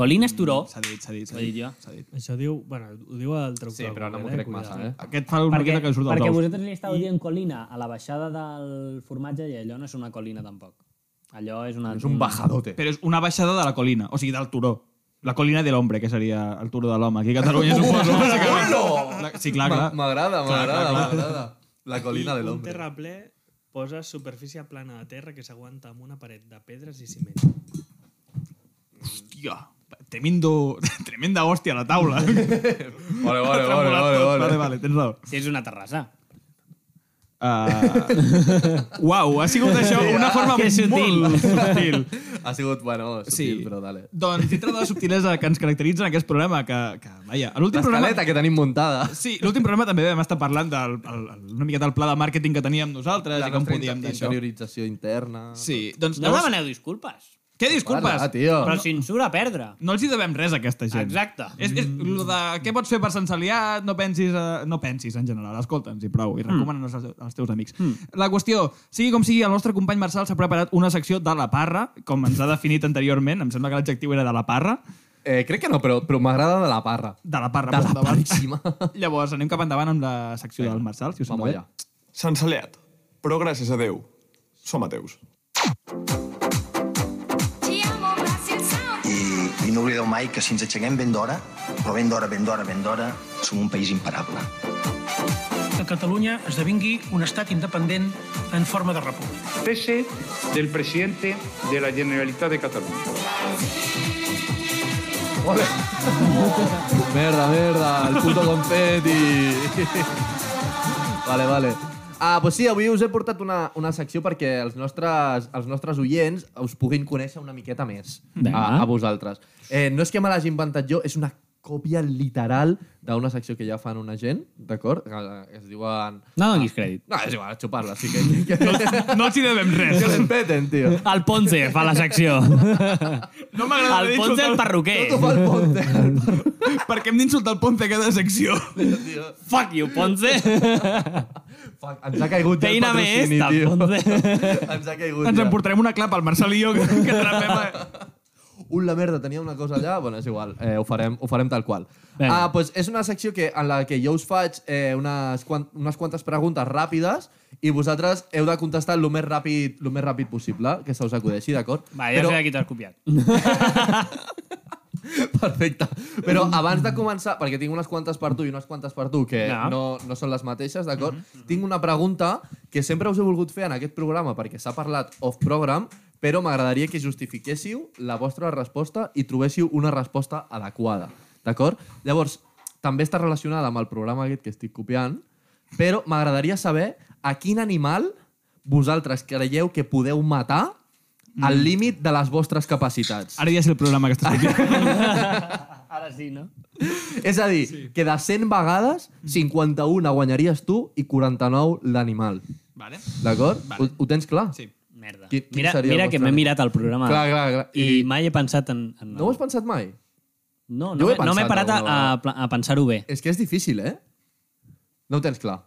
Speaker 4: Colina és turó,
Speaker 5: Mm, S'ha dit, s'ha dit, s'ha
Speaker 4: ho he dit
Speaker 5: dit.
Speaker 4: jo.
Speaker 5: S'ha dit.
Speaker 6: Això diu... Bueno, ho diu el traductor.
Speaker 3: Sí, però no m'ho
Speaker 6: Google,
Speaker 3: crec massa,
Speaker 6: cuidado.
Speaker 3: eh?
Speaker 5: Aquest fa una
Speaker 4: Perquè,
Speaker 5: miqueta que surt dels
Speaker 4: perquè
Speaker 5: ous.
Speaker 4: vosaltres li estàveu dient colina a la baixada del formatge i allò no és una colina tampoc. Allò és una...
Speaker 3: És un bajadote.
Speaker 5: Però és una baixada de la colina, o sigui, del turó. La colina de l'hombre, que seria el turó de l'home. Aquí
Speaker 3: [laughs]
Speaker 5: a Catalunya suposo. bàsicament. La- Sí, clar,
Speaker 3: M'a-
Speaker 5: clar.
Speaker 3: M'agrada, m'agrada, m'agrada. La colina de
Speaker 6: I Un
Speaker 3: l'hombre.
Speaker 6: terraplè posa superfície plana de terra que s'aguanta amb una paret de pedres i ciment.
Speaker 5: Hòstia, tremendo, [laughs] tremenda hòstia a la taula.
Speaker 3: Vale, vale,
Speaker 5: Tremolat
Speaker 3: vale, vale,
Speaker 5: tot.
Speaker 3: vale.
Speaker 5: vale, vale, tens raó.
Speaker 4: Sí, és una terrassa.
Speaker 5: Uh, uau, ha sigut
Speaker 3: [laughs]
Speaker 5: això una forma
Speaker 4: que sutil.
Speaker 5: molt subtil.
Speaker 3: Ha sigut, bueno, sutil, sí. però dale.
Speaker 5: Doncs, dintre de la subtilesa que ens caracteritza en aquest programa, que, que vaja, a l'últim programa...
Speaker 3: L'escaleta que tenim muntada.
Speaker 5: Sí, l'últim programa també vam estar parlant del, el, el, una miqueta del pla de màrqueting que teníem nosaltres i com podíem dir això.
Speaker 3: Interiorització interna.
Speaker 5: Sí, doncs...
Speaker 4: No demaneu disculpes,
Speaker 5: Què disculpes?
Speaker 3: Parla, tio.
Speaker 4: però censura a perdre.
Speaker 5: No els hi devem res a aquesta gent.
Speaker 4: Exacte.
Speaker 5: És, és lo de què pots fer per Sant Saliat, no pensis, a, no pensis en general, escolta'ns i prou, i recomana'ns als, als teus amics. La qüestió, sigui com sigui, el nostre company Marçal s'ha preparat una secció de la parra, com ens ha definit anteriorment, em sembla que l'adjectiu era de la parra,
Speaker 3: Eh, crec que no, però, però m'agrada de la parra.
Speaker 5: de la parra. Pues
Speaker 3: De la
Speaker 5: punt barra.
Speaker 3: parríssima.
Speaker 5: Llavors, anem cap endavant amb la secció del Marçal, si us
Speaker 3: Vamos
Speaker 5: sembla bé.
Speaker 3: allà.
Speaker 1: Sant Saliat, però gràcies a Déu, som ateus.
Speaker 8: Te amo, Brasil Sound.
Speaker 9: I, i no oblideu mai que si ens aixequem ben d'hora, però ben d'hora, ben d'hora, ben d'hora, som un país imparable.
Speaker 10: que Catalunya esdevingui un estat independent en forma de república.
Speaker 11: Tese del presidente de la Generalitat de Catalunya.
Speaker 3: Merda, merda, el
Speaker 4: [laughs]
Speaker 3: puto confeti. vale, vale. Ah, doncs sí, avui us he portat una, una secció perquè els nostres, els nostres oients us puguin conèixer una miqueta més
Speaker 4: Vinga.
Speaker 3: a, a vosaltres. Eh, no és que me l'hagi inventat jo, és una còpia literal d'una secció que ja fan una gent, d'acord? Que eh, Es diuen...
Speaker 4: No donis crèdit.
Speaker 3: No, és igual, xupar-la, sí que... que,
Speaker 5: No els hi devem res.
Speaker 3: que
Speaker 5: [laughs]
Speaker 3: l'empeten, tio.
Speaker 4: El Ponce fa la secció.
Speaker 10: [laughs]
Speaker 5: No m'agrada
Speaker 4: El Ponce el
Speaker 5: d'insultar...
Speaker 4: perruquer.
Speaker 3: Tot ho fa el Ponte. [laughs]
Speaker 5: Per què hem d'insultar el Ponce a cada secció?
Speaker 4: Fuck you, Ponce.
Speaker 3: Fuck, ens ha caigut el
Speaker 4: Feina més
Speaker 3: patrocini,
Speaker 4: del
Speaker 3: tio.
Speaker 4: Ponce.
Speaker 3: Ens ha caigut.
Speaker 5: Ens
Speaker 3: ja.
Speaker 5: emportarem una clapa al Marçal i jo, que, que trapem... A...
Speaker 3: un la merda, tenia una cosa allà, bueno, és igual, eh, ho, farem, ho farem tal qual.
Speaker 4: Vinga.
Speaker 3: Ah, pues és una secció que, en la que jo us faig eh, unes, quant, unes quantes preguntes ràpides i vosaltres heu de contestar el més ràpid, el més ràpid possible que se us acudeixi, d'acord?
Speaker 4: Va, ja Però... sé de qui t'has copiat.
Speaker 3: Perfecte. Però abans de començar, perquè tinc unes quantes per tu i unes quantes per tu que
Speaker 4: Ja.
Speaker 3: no, no són les mateixes, d'acord? Tinc una pregunta que sempre us he volgut fer en aquest programa perquè s'ha parlat off-program, però m'agradaria que justifiquéssiu la vostra resposta i trobéssiu una resposta adequada, d'acord? Llavors, també està relacionada amb el programa aquest que estic copiant, però m'agradaria saber a quin animal vosaltres creieu que podeu matar al límit de les vostres capacitats.
Speaker 5: Ara ja és el programa que estàs aquí.
Speaker 4: Ara sí, no?
Speaker 3: És a dir, sí. que de 100 vegades,
Speaker 5: Mm.
Speaker 3: 51 guanyaries tu i 49 l'animal.
Speaker 5: vale.
Speaker 3: D'acord?
Speaker 5: Vale.
Speaker 3: Ho, ho tens clar?
Speaker 5: Sí.
Speaker 4: Merda.
Speaker 3: Qui- qui
Speaker 4: mira
Speaker 3: seria el
Speaker 4: mira
Speaker 3: vostre
Speaker 4: que m'he
Speaker 3: amic?
Speaker 4: mirat el programa.
Speaker 3: Clar, clar, clar.
Speaker 4: I,
Speaker 3: I-
Speaker 4: mai he pensat en... en
Speaker 3: No ho has pensat mai?
Speaker 4: no,
Speaker 3: Jo
Speaker 4: no,
Speaker 3: ho he
Speaker 4: m'he- no m'he
Speaker 3: pensat
Speaker 4: parat a,
Speaker 3: alguna
Speaker 4: a, pla- a pensar-ho bé.
Speaker 3: És que és difícil, eh? No ho tens clar.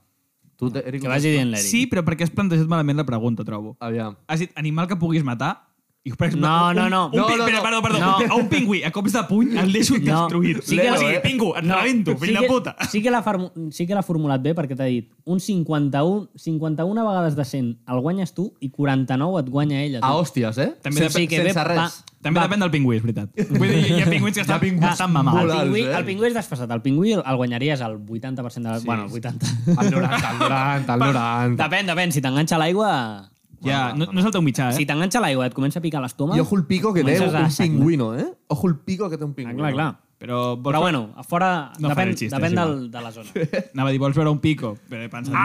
Speaker 3: Tu, no. Eric,
Speaker 4: Que
Speaker 3: ho
Speaker 4: vagi
Speaker 3: tens
Speaker 4: dient l'Eric.
Speaker 5: Sí, però perquè has plantejat malament la pregunta, trobo.
Speaker 3: clar? Aviam.
Speaker 5: Has dit animal que puguis matar? I per exemple,
Speaker 4: No, no, no.
Speaker 5: Un, un
Speaker 4: No,
Speaker 5: pi-
Speaker 4: no,
Speaker 5: espera,
Speaker 4: no.
Speaker 5: Perdó, perdó.
Speaker 4: No.
Speaker 5: A un pingüí, a cops de puny, el deixo
Speaker 4: No.
Speaker 5: destruir.
Speaker 4: Sí que-
Speaker 5: o sigui,
Speaker 4: eh?
Speaker 5: pingü, et rebento, fill
Speaker 4: sí
Speaker 5: de
Speaker 4: que-
Speaker 5: puta.
Speaker 4: Sí que l'ha formu- sí que l'ha formulat bé perquè t'ha dit un 51, 51 vegades de 100 el guanyes tu i 49 et guanya ella. tu.
Speaker 5: Ah,
Speaker 3: A hòsties, eh?
Speaker 5: També
Speaker 3: sense,
Speaker 5: depèn-
Speaker 3: sense
Speaker 4: ve-
Speaker 3: res.
Speaker 4: va-
Speaker 5: També
Speaker 4: va-
Speaker 5: depèn del pingüí, és veritat. Vull dir, hi ha pingüins que estan, pingüins, estan
Speaker 4: El
Speaker 5: mamats.
Speaker 3: Volar.
Speaker 4: pingüí,
Speaker 3: eh?
Speaker 4: el pingüí és desfasat. El pingüí el guanyaries al 80% de... la- Bueno, el 80.
Speaker 3: Al 90, al 90, al 90.
Speaker 4: [laughs] Depèn, depèn. Si t'enganxa a l'aigua...
Speaker 5: Ja, no, no és el teu mitjà, eh?
Speaker 4: Si t'enganxa a l'aigua i et comença a picar l'estómac...
Speaker 3: I ojo el pico que té
Speaker 4: comences a
Speaker 3: un
Speaker 4: sagnar.
Speaker 3: pingüino, eh? Ojo el pico que té un
Speaker 4: Ah,
Speaker 3: pingüino.
Speaker 4: clar, clar.
Speaker 5: Però, vols,
Speaker 4: Però bueno, a fora...
Speaker 5: No faré
Speaker 4: depèn
Speaker 5: el xiste,
Speaker 4: depèn
Speaker 5: és
Speaker 4: del, de la zona.
Speaker 5: [laughs] Anava a dir, vols veure un pico? Però he pensat, no,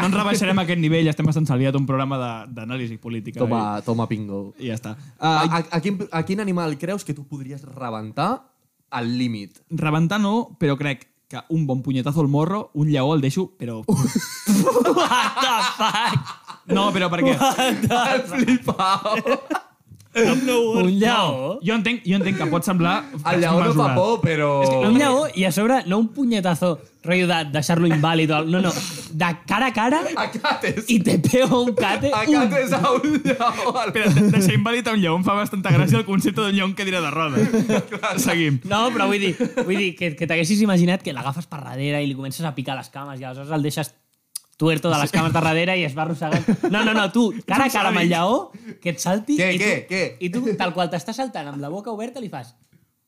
Speaker 5: no ens rebaixarem a aquest nivell, estem bastant salviat un programa de- d'anàlisi política.
Speaker 3: Toma, toma pingo.
Speaker 5: I, I ja està.
Speaker 3: A,
Speaker 5: Uh,
Speaker 3: Ah, a, a, quin, a quin animal creus que tu podries rebentar al
Speaker 5: [laughs]
Speaker 3: límit?
Speaker 5: rebentar no, però crec que un bon punyetazo al morro, un lleó el deixo,
Speaker 3: [laughs]
Speaker 5: però... What the fuck? No, però per què?
Speaker 3: Flipau!
Speaker 4: Un lleó...
Speaker 5: Jo entenc, jo entenc que pot semblar...
Speaker 3: El lleó no fa
Speaker 5: desmesurat.
Speaker 3: por, però...
Speaker 4: Un lleó i a sobre no un punyetazo rotllo de deixar-lo invàlid o al- no, no, de cara a cara
Speaker 3: A
Speaker 5: Ah,
Speaker 3: cates!
Speaker 4: i te pego un cate
Speaker 3: A
Speaker 4: un
Speaker 3: cates a un lleó! al-
Speaker 5: Espera, de- deixar invàlid a un lleó em fa bastanta gràcia el concepte d'un lleó que dirà de roda. Seguim.
Speaker 4: No, però vull dir, vull dir que, que t'haguessis imaginat que l'agafes per darrere i li comences a picar les cames i aleshores el deixes tuerto de les cames de darrere i es va arrossegant. No, no, no, tu, cara a cara amb el lleó, que et salti
Speaker 3: Què,
Speaker 4: i, tu,
Speaker 3: què, què?
Speaker 4: i tu, tal qual t'està saltant amb la boca oberta, li fas...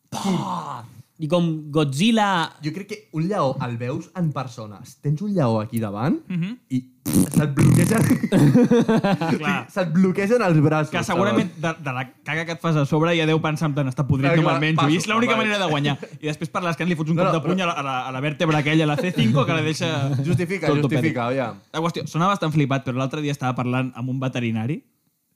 Speaker 4: "Pah!" I com Godzilla...
Speaker 3: Jo crec que un lleó el veus en persona. Si Tens un lleó aquí davant
Speaker 5: Mhm.
Speaker 3: i se't bloquegen,
Speaker 4: [laughs]
Speaker 5: Clar.
Speaker 3: [laughs] se't bloquegen els braços.
Speaker 5: Que segurament de, de la caga que et fas a sobre ja deu pensar en plan, està podrit,
Speaker 3: Clar,
Speaker 5: no
Speaker 3: clar,
Speaker 5: me'l menjo.
Speaker 3: passo,
Speaker 5: I és l'única
Speaker 3: home.
Speaker 5: manera de guanyar. I després per l'escan li fots un
Speaker 3: No,
Speaker 5: cop
Speaker 3: no,
Speaker 5: de puny a la, a la, a la vèrtebra aquella, a la C5, que la deixa...
Speaker 3: [laughs] saben. Justifica,
Speaker 5: Tot
Speaker 3: justifica, aviam.
Speaker 5: La qüestió, sonava bastant flipat, però l'altre dia estava parlant amb un veterinari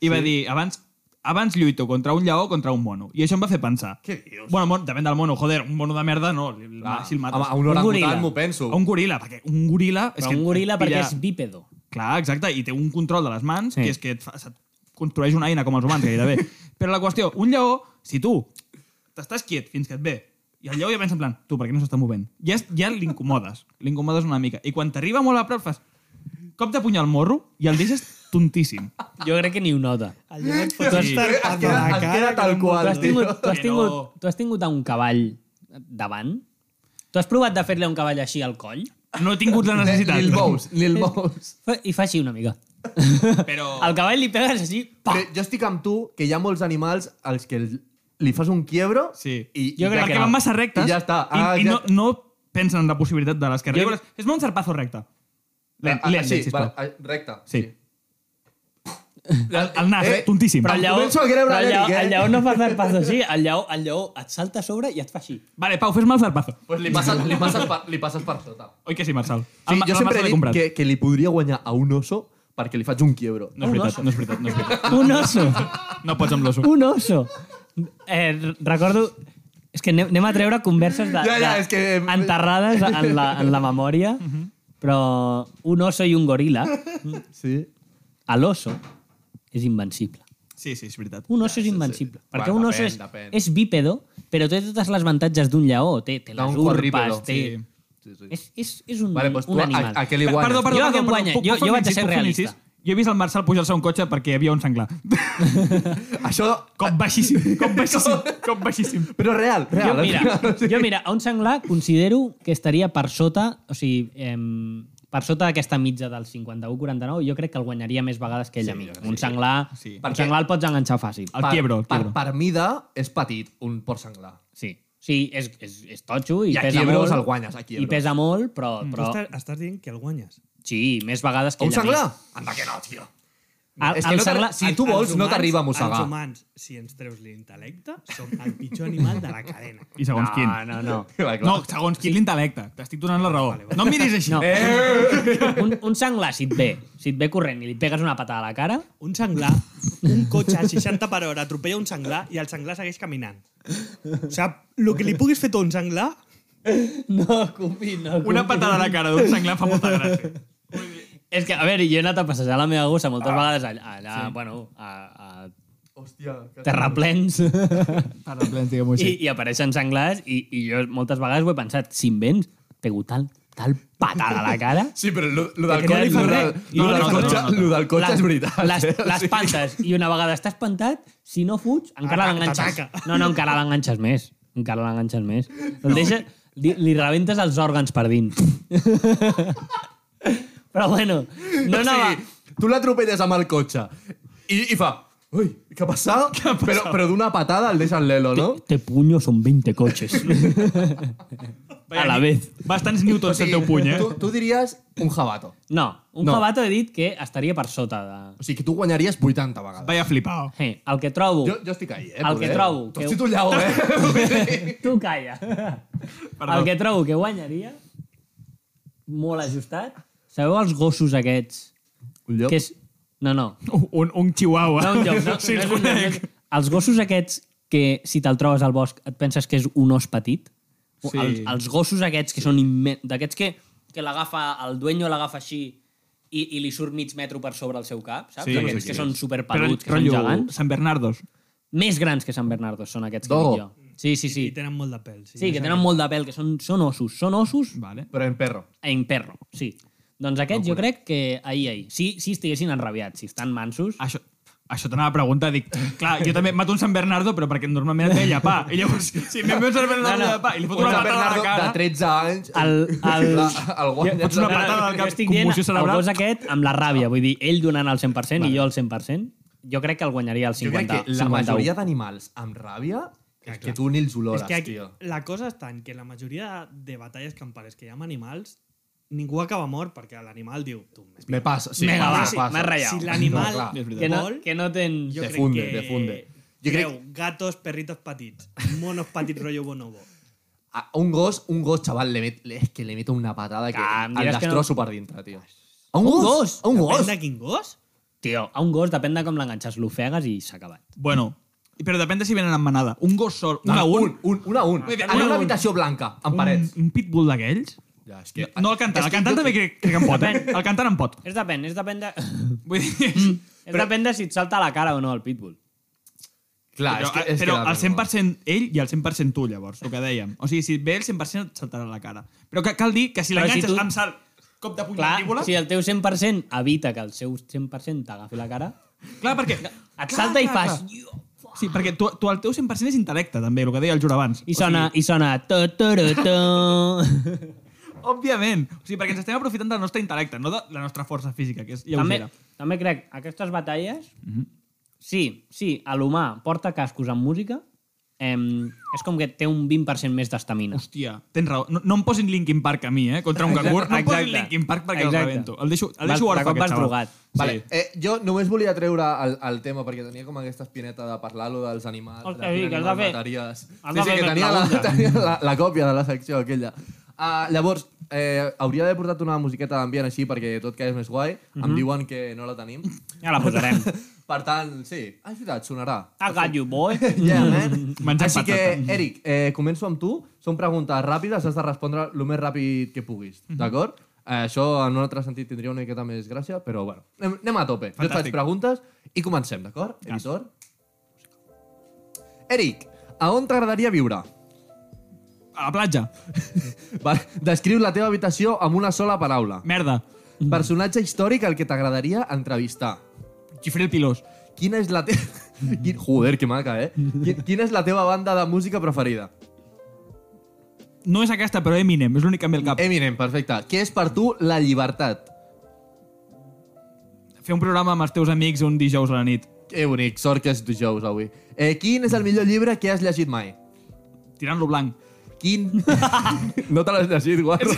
Speaker 5: i sí. va dir, abans, abans lluito contra un lleó o contra un mono. I això em va fer pensar.
Speaker 3: Què dius?
Speaker 5: Bueno, mon, depèn del mono, joder, un mono de merda no, li, ah, si el mates.
Speaker 3: a, a un
Speaker 4: Un
Speaker 3: orangutan
Speaker 4: goril·la.
Speaker 3: m'ho penso.
Speaker 5: A un goril·la, perquè un goril·la...
Speaker 4: Però un goril·la perquè
Speaker 5: pilla-
Speaker 4: és bípedo.
Speaker 5: Clar, exacte, i té un control de les mans,
Speaker 4: Sí.
Speaker 5: sí. que és que et, fa, se't construeix una eina com els humans, gairebé. Però la qüestió, un lleó, si tu t'estàs quiet fins que et ve, i el lleó ja pensa en plan, tu, per què no s'està movent? Ja, es- ja l'incomodes, l'incomodes una mica. I quan t'arriba molt a prop fas cop de puny al morro i el deixes tontíssim.
Speaker 4: Jo crec que ni ho nota.
Speaker 6: Allò et fot
Speaker 4: Sí.
Speaker 6: sí.
Speaker 3: Es queda, es queda tal
Speaker 4: Tu
Speaker 3: qual,
Speaker 4: has
Speaker 3: tio.
Speaker 4: tingut, tu has
Speaker 5: Que
Speaker 4: tingut,
Speaker 5: no.
Speaker 4: tu has tingut a un cavall davant? Tu has provat de fer-li un cavall així al coll?
Speaker 5: No he tingut la necessitat.
Speaker 3: Lil Bows,
Speaker 5: [laughs]
Speaker 3: Lil Bows.
Speaker 4: Fa- I fa així una mica.
Speaker 5: Però...
Speaker 4: Al cavall li pegues així, pa!
Speaker 3: Però jo estic amb tu, que hi ha molts animals als que el- li fas un quiebro
Speaker 5: Sí.
Speaker 3: i, i ja
Speaker 4: Jo crec que
Speaker 5: Perquè
Speaker 3: queda.
Speaker 5: van massa rectes
Speaker 3: I ja està.
Speaker 5: i,
Speaker 3: Ah,
Speaker 5: i
Speaker 3: ja-
Speaker 5: no, no pensen en la possibilitat de les que
Speaker 4: Jo-
Speaker 5: arriben. És molt un zarpazo recte. Lent,
Speaker 3: Ah, ah,
Speaker 5: lent,
Speaker 3: sí,
Speaker 5: lent, sisplau.
Speaker 3: va, ah, recte.
Speaker 5: Sí. El, el nas, eh, tontíssim.
Speaker 4: Però el
Speaker 3: Em
Speaker 4: lleó,
Speaker 3: començo a creure,
Speaker 4: però el, lleó,
Speaker 3: Eric, eh?
Speaker 4: el lleó no fa zarpazo així, el lleó, el lleó et salta a sobre i et fa així.
Speaker 5: Vale, Pau, fes-me el zarpazo.
Speaker 3: Pues li passes, li passes, per, li passes per sota.
Speaker 5: Oi que sí, Marçal?
Speaker 3: Sí,
Speaker 5: El-
Speaker 3: jo
Speaker 5: el
Speaker 3: sempre
Speaker 5: Marçal
Speaker 3: he
Speaker 5: l'he
Speaker 3: dit
Speaker 5: comprat.
Speaker 3: que, que li podria guanyar a un oso perquè li faig un quiebro.
Speaker 5: No és veritat, no és veritat, no és
Speaker 4: [laughs]
Speaker 5: veritat.
Speaker 4: Un oso,
Speaker 5: No pots amb l'oso.
Speaker 4: un oso. Eh, r- recordo... És que anem, anem a treure converses de,
Speaker 3: Ja, ja,
Speaker 4: de-
Speaker 3: és que-
Speaker 4: enterrades en la, en la memòria, però un oso i un goril·la,
Speaker 3: Sí.
Speaker 4: l'oso és invencible.
Speaker 5: Sí, sí, és veritat.
Speaker 4: Un oso és invencible. Perquè
Speaker 3: Bueno,
Speaker 4: un oso
Speaker 3: depèn,
Speaker 4: és,
Speaker 3: depèn.
Speaker 4: és bípedo, però té totes les avantatges d'un lleó. Té, té les
Speaker 3: D'un
Speaker 4: urpes,
Speaker 3: quadrípedo,
Speaker 4: té...
Speaker 5: sí.
Speaker 3: sí, sí.
Speaker 4: És, és, és un,
Speaker 3: Vale, doncs tu
Speaker 4: un
Speaker 3: a,
Speaker 4: animal.
Speaker 3: a què li guanyes?
Speaker 5: Perdó, perdó,
Speaker 4: Jo a
Speaker 5: perdó,
Speaker 4: què em
Speaker 5: perdó,
Speaker 4: guanyo?
Speaker 5: puc-
Speaker 4: Jo-
Speaker 5: puc
Speaker 4: jo
Speaker 5: fer un
Speaker 4: vaig a
Speaker 5: incís,
Speaker 4: ser
Speaker 5: puc fer un
Speaker 4: realista.
Speaker 5: incís? Jo he vist el Marçal pujar-se a un cotxe perquè hi havia un senglar.
Speaker 3: Això...
Speaker 5: Cop baixíssim, cop
Speaker 4: [laughs]
Speaker 5: baixíssim, cop baixíssim.
Speaker 3: Però real,
Speaker 4: Jo,
Speaker 3: real.
Speaker 4: mira, jo, mira, a un senglar considero que estaria per sota, o sigui, em, per sota d'aquesta mitja del 51-49, jo crec que el guanyaria més vegades que ell a mi. Un senglar,
Speaker 5: Sí.
Speaker 4: un
Speaker 3: Perquè-
Speaker 4: senglar el pots enganxar fàcil.
Speaker 5: El quiebro, el
Speaker 3: per,
Speaker 5: quiebro.
Speaker 3: per mida és petit, un porc senglar.
Speaker 4: Sí. sigui, és, és, és totxo i,
Speaker 3: I a
Speaker 4: pesa
Speaker 3: Quiebros
Speaker 4: molt.
Speaker 3: el guanyes, a
Speaker 4: I
Speaker 3: Quiebros.
Speaker 4: pesa molt, però...
Speaker 6: Tu
Speaker 4: però
Speaker 6: estàs, estàs dient que el guanyes.
Speaker 4: sí, més vegades que
Speaker 3: Un
Speaker 4: ell a mi.
Speaker 3: senglar? Anda que no, tio.
Speaker 4: El,
Speaker 3: És que
Speaker 4: el
Speaker 3: no Ah. t'arri-
Speaker 4: senglar...
Speaker 3: si tu
Speaker 6: Els
Speaker 3: vols, no
Speaker 6: humans-
Speaker 3: t'arriba a
Speaker 6: Els
Speaker 3: mossegar.
Speaker 6: humans, si ens treus l'intel·lecte, som el pitjor animal de la cadena.
Speaker 5: I segons quin.
Speaker 4: No, no, no.
Speaker 3: [laughs] Clar, clar.
Speaker 5: No, segons quin l'intel·lecte. T'estic donant la raó. No em miris així. eh?
Speaker 4: No. Un, un senglar, si et ve, si et ve corrent i li pegues una patada a la cara,
Speaker 6: Un senglar, un cotxe a 60 per hora atropella un senglar i el senglar segueix caminant. O sigui, el que li puguis fer tu a un senglar...
Speaker 4: No, Cupi, no. Cupi.
Speaker 5: Una patada a la cara d'un senglar fa molta gràcia.
Speaker 4: [laughs] És que, a veure, jo he anat a passejar la meva gossa moltes ah. vegades allà, allà sí. bueno, a,
Speaker 3: Hòstia.
Speaker 4: a terraplens
Speaker 5: [laughs] Terraplens, diguem-ho
Speaker 4: i, i apareixen senglars i, i jo moltes vegades ho he pensat, si em vens, et pego tal, tal patada a la cara
Speaker 1: Sí, però lo, lo
Speaker 4: Que
Speaker 1: del cotxe,
Speaker 4: queden
Speaker 1: lo del,
Speaker 4: res.
Speaker 1: lo
Speaker 4: No,
Speaker 1: del
Speaker 4: no, no,
Speaker 1: cotxe,
Speaker 4: no, no.
Speaker 1: lo del cotxe
Speaker 4: Les-
Speaker 1: és veritat.
Speaker 4: Les,
Speaker 1: eh? O sigui,
Speaker 4: l'espantes i una vegada està espantat, si no fuig, encara
Speaker 6: Ataca,
Speaker 4: l'enganxes.
Speaker 6: t'ataca.
Speaker 4: No, no, encara l'enganxes més. Encara l'enganxes més. El deixa, li, li rebentes els òrgans per dins. [laughs] Però bueno, no anava...
Speaker 3: Tu l'atropelles amb el cotxe i, i fa... Ui, què ha passat? Però, però d'una patada el deixa en l'elo, no?
Speaker 4: Te puño son 20
Speaker 1: [laughs]
Speaker 4: cotxes. a la vez.
Speaker 5: Bastants newtons del teu puny, eh?
Speaker 3: Tu, tu diries un jabato.
Speaker 4: No, un
Speaker 3: No.
Speaker 4: no. jabato he dit que estaria per sota de...
Speaker 3: O sigui, que tu guanyaries 80 vegades.
Speaker 5: Vaya flipao.
Speaker 4: Eh, el que trobo...
Speaker 3: Jo, jo estic ahí, eh?
Speaker 4: El que trobo que-
Speaker 3: Que... Estic ullau, eh?
Speaker 4: Tu calla.
Speaker 5: [laughs] Perdó.
Speaker 4: El que trobo que guanyaria, molt ajustat, sabeu els gossos aquests?
Speaker 3: Un llop.
Speaker 4: Que és... No, no.
Speaker 5: Un, un chihuahua.
Speaker 4: No, un lloc, no,
Speaker 5: [laughs] Sí,
Speaker 4: no és
Speaker 5: el
Speaker 4: un lloc, no
Speaker 5: conec.
Speaker 4: és... Els gossos aquests que si te'l trobes al bosc et penses que és un os petit, O
Speaker 5: Sí.
Speaker 4: els, els gossos aquests que són immen... d'aquests que, que l'agafa, el dueño l'agafa així i, i li surt mig metro per sobre el seu cap, saps?
Speaker 5: Sí,
Speaker 4: Sí,
Speaker 5: no sé
Speaker 4: aquests
Speaker 5: qui
Speaker 4: que són
Speaker 5: Però,
Speaker 4: superpeluts, que són
Speaker 5: rotllo,
Speaker 4: gegants.
Speaker 5: San Bernardos.
Speaker 4: Més grans que Sant Bernardo són aquests que
Speaker 3: Dogo.
Speaker 4: dic jo. Sí, sí, sí.
Speaker 6: I tenen molt de pèl.
Speaker 4: Sí, que tenen molt de pèl, que són, són ossos. Són ossos
Speaker 5: Vale.
Speaker 3: Però en perro.
Speaker 4: en perro, sí. Doncs aquests jo crec que ahir, ahir. Si, si estiguessin enrabiats, si estan mansos...
Speaker 5: Això, això t'anava a preguntar, dic, clar, jo també mato un San Bernardo, però perquè normalment et ve llapar. I llavors, si em ve un San Bernardo
Speaker 4: No, no.
Speaker 5: no, no. llapar i li foto
Speaker 3: Un
Speaker 5: una
Speaker 3: San
Speaker 5: patada a
Speaker 3: Bernardo
Speaker 5: la cara...
Speaker 3: de 13 anys.
Speaker 4: El, el,
Speaker 3: La, el guanya.
Speaker 5: Fots una patada al cap,
Speaker 4: jo estic dient
Speaker 5: convulsió
Speaker 4: el
Speaker 5: cerebral.
Speaker 4: gos aquest amb la ràbia, vull dir, ell donant el 100% i jo el 100%, jo crec que el guanyaria el 50.
Speaker 3: Jo crec que la
Speaker 4: 51.
Speaker 3: majoria d'animals amb ràbia és que tu ni els olores,
Speaker 6: És que aquí,
Speaker 3: tio.
Speaker 6: la cosa és tant que la majoria de, de batalles campales que hi ha amb animals, ningú acaba mort perquè l'animal diu... Tu, m'es-
Speaker 3: Me passa. Sí,
Speaker 4: Vinga,
Speaker 3: passa,
Speaker 4: va, sí,
Speaker 3: passa.
Speaker 4: m'has ratllat.
Speaker 6: si l'animal
Speaker 3: No, clar.
Speaker 5: És veritat.
Speaker 4: que no,
Speaker 6: vol,
Speaker 4: que no tens...
Speaker 6: jo
Speaker 3: Te
Speaker 6: crec
Speaker 3: funde,
Speaker 6: que...
Speaker 3: te funde. Jo
Speaker 6: Jo
Speaker 3: crec-
Speaker 6: crec... gatos, perritos petits, monos petits, rotllo bonobo.
Speaker 3: A un gos, un gos, chaval, le met, le- es que le meto una patada que
Speaker 4: Ah,
Speaker 3: al
Speaker 4: mira, es que
Speaker 3: destrozo per dintre, tio. A un, gos? A un
Speaker 6: Depèn
Speaker 3: gos?
Speaker 6: de quin gos?
Speaker 4: Tio, a un gos depèn de com l'enganxes, l'ofegues i s'ha acabat.
Speaker 5: Bueno, però depèn de si venen en manada. Un gos sol, un a un,
Speaker 3: un, un, un a un.
Speaker 5: Vull dir,
Speaker 3: En
Speaker 5: un a
Speaker 3: una
Speaker 5: un.
Speaker 3: habitació blanca, amb
Speaker 5: un,
Speaker 3: parets.
Speaker 5: un pitbull d'aquells...
Speaker 3: Ja, és que...
Speaker 5: No el cantant, el cantant també crec, crec que en pot, eh? El cantant en pot.
Speaker 4: És depèn, és depèn de... [laughs]
Speaker 5: Vull
Speaker 3: Mm.
Speaker 5: dir,
Speaker 4: és depèn de si et salta a la cara o no el pitbull.
Speaker 3: Clar,
Speaker 5: però,
Speaker 3: Ah, és que, és
Speaker 5: però
Speaker 3: que
Speaker 5: al 100% ell i al 100% tu, llavors, el que dèiem. O sigui, si et ve el 100% et saltarà a la cara. Però que, cal dir que si
Speaker 4: Però si
Speaker 5: l'enganxes
Speaker 4: tu-
Speaker 5: amb salt, cop de puny
Speaker 4: Clar,
Speaker 5: mandíbula...
Speaker 4: si el teu 100% evita que el seu 100% t'agafi la cara,
Speaker 5: Clar, perquè...
Speaker 4: et salta i fas...
Speaker 5: Sí, perquè tu, tu el teu 100% és intel·lecte, també, el que deia el Jura abans.
Speaker 4: I sona, i sona... To, to, to, to.
Speaker 5: O sigui, òbviament. O sigui, perquè ens estem aprofitant del nostre intel·lecte, no de la nostra força física, que és
Speaker 4: també,
Speaker 5: lleugera.
Speaker 4: també crec, aquestes batalles... Sí, sí, a l'humà porta cascos amb música, em, és com que té un 20% més d'estamina.
Speaker 5: Hòstia, tens raó. No, no em posin Linkin Park a mi, eh? Contra un cangur. No em posin Linkin Park perquè el
Speaker 4: Exacte.
Speaker 5: rebento. El deixo, el
Speaker 4: Vas-
Speaker 5: deixo
Speaker 4: de
Speaker 5: orfe,
Speaker 4: cop
Speaker 5: aquest
Speaker 4: vas
Speaker 5: xaval.
Speaker 4: drogat.
Speaker 3: Vale, eh, jo només volia treure el, el tema perquè tenia com aquesta espineta de parlar-lo dels animals,
Speaker 4: Hòstia,
Speaker 3: de
Speaker 4: sí,
Speaker 3: quin
Speaker 4: que has
Speaker 3: animal
Speaker 4: de fer-
Speaker 3: mataries.
Speaker 4: has
Speaker 3: Sí,
Speaker 4: de
Speaker 3: sí,
Speaker 4: fer
Speaker 3: que tenia la,
Speaker 4: pregunta.
Speaker 3: [laughs] tenia la, la còpia de la secció aquella. Uh, llavors, eh, hauria d'haver portat una musiqueta d'ambient així perquè tot que és més guai. Em diuen que no la tenim.
Speaker 4: Ja la posarem.
Speaker 3: Per tant, sí, ah, és veritat, sonarà. [laughs]
Speaker 4: I got you, boy.
Speaker 3: Yeah, man.
Speaker 5: [laughs] Menjant
Speaker 3: Així que,
Speaker 5: patata.
Speaker 3: Eric, eh, començo amb tu. Són preguntes ràpides, has de respondre el més ràpid que puguis,
Speaker 5: Mhm.
Speaker 3: d'acord? Eh, això en un altre sentit tindria una miqueta més gràcia, però bueno, anem, anem a tope. Jo et faig
Speaker 5: Fantàstic.
Speaker 3: preguntes i comencem, d'acord? Editor. Eric, a on t'agradaria viure?
Speaker 5: A la platja.
Speaker 3: Va, descriu la teva habitació amb una sola paraula.
Speaker 5: Merda.
Speaker 3: Personatge històric al que t'agradaria entrevistar.
Speaker 5: Xifré el pilós.
Speaker 3: Quina és la teva... [laughs] Quin... Joder, que maca, eh? Qui- Quina és la teva banda de música preferida?
Speaker 5: No és aquesta, però Eminem. És l'únic que em ve al
Speaker 4: Eh.
Speaker 5: cap.
Speaker 3: Eminem, perfecte. Què és per tu la llibertat?
Speaker 5: Fer un programa amb els teus amics un dijous a la nit.
Speaker 3: Que bonic, sort que és dijous avui. Eh, quin és el millor llibre que has llegit mai?
Speaker 5: tirant-lo blanc.
Speaker 3: Quin... no te l'has llegit, guarro.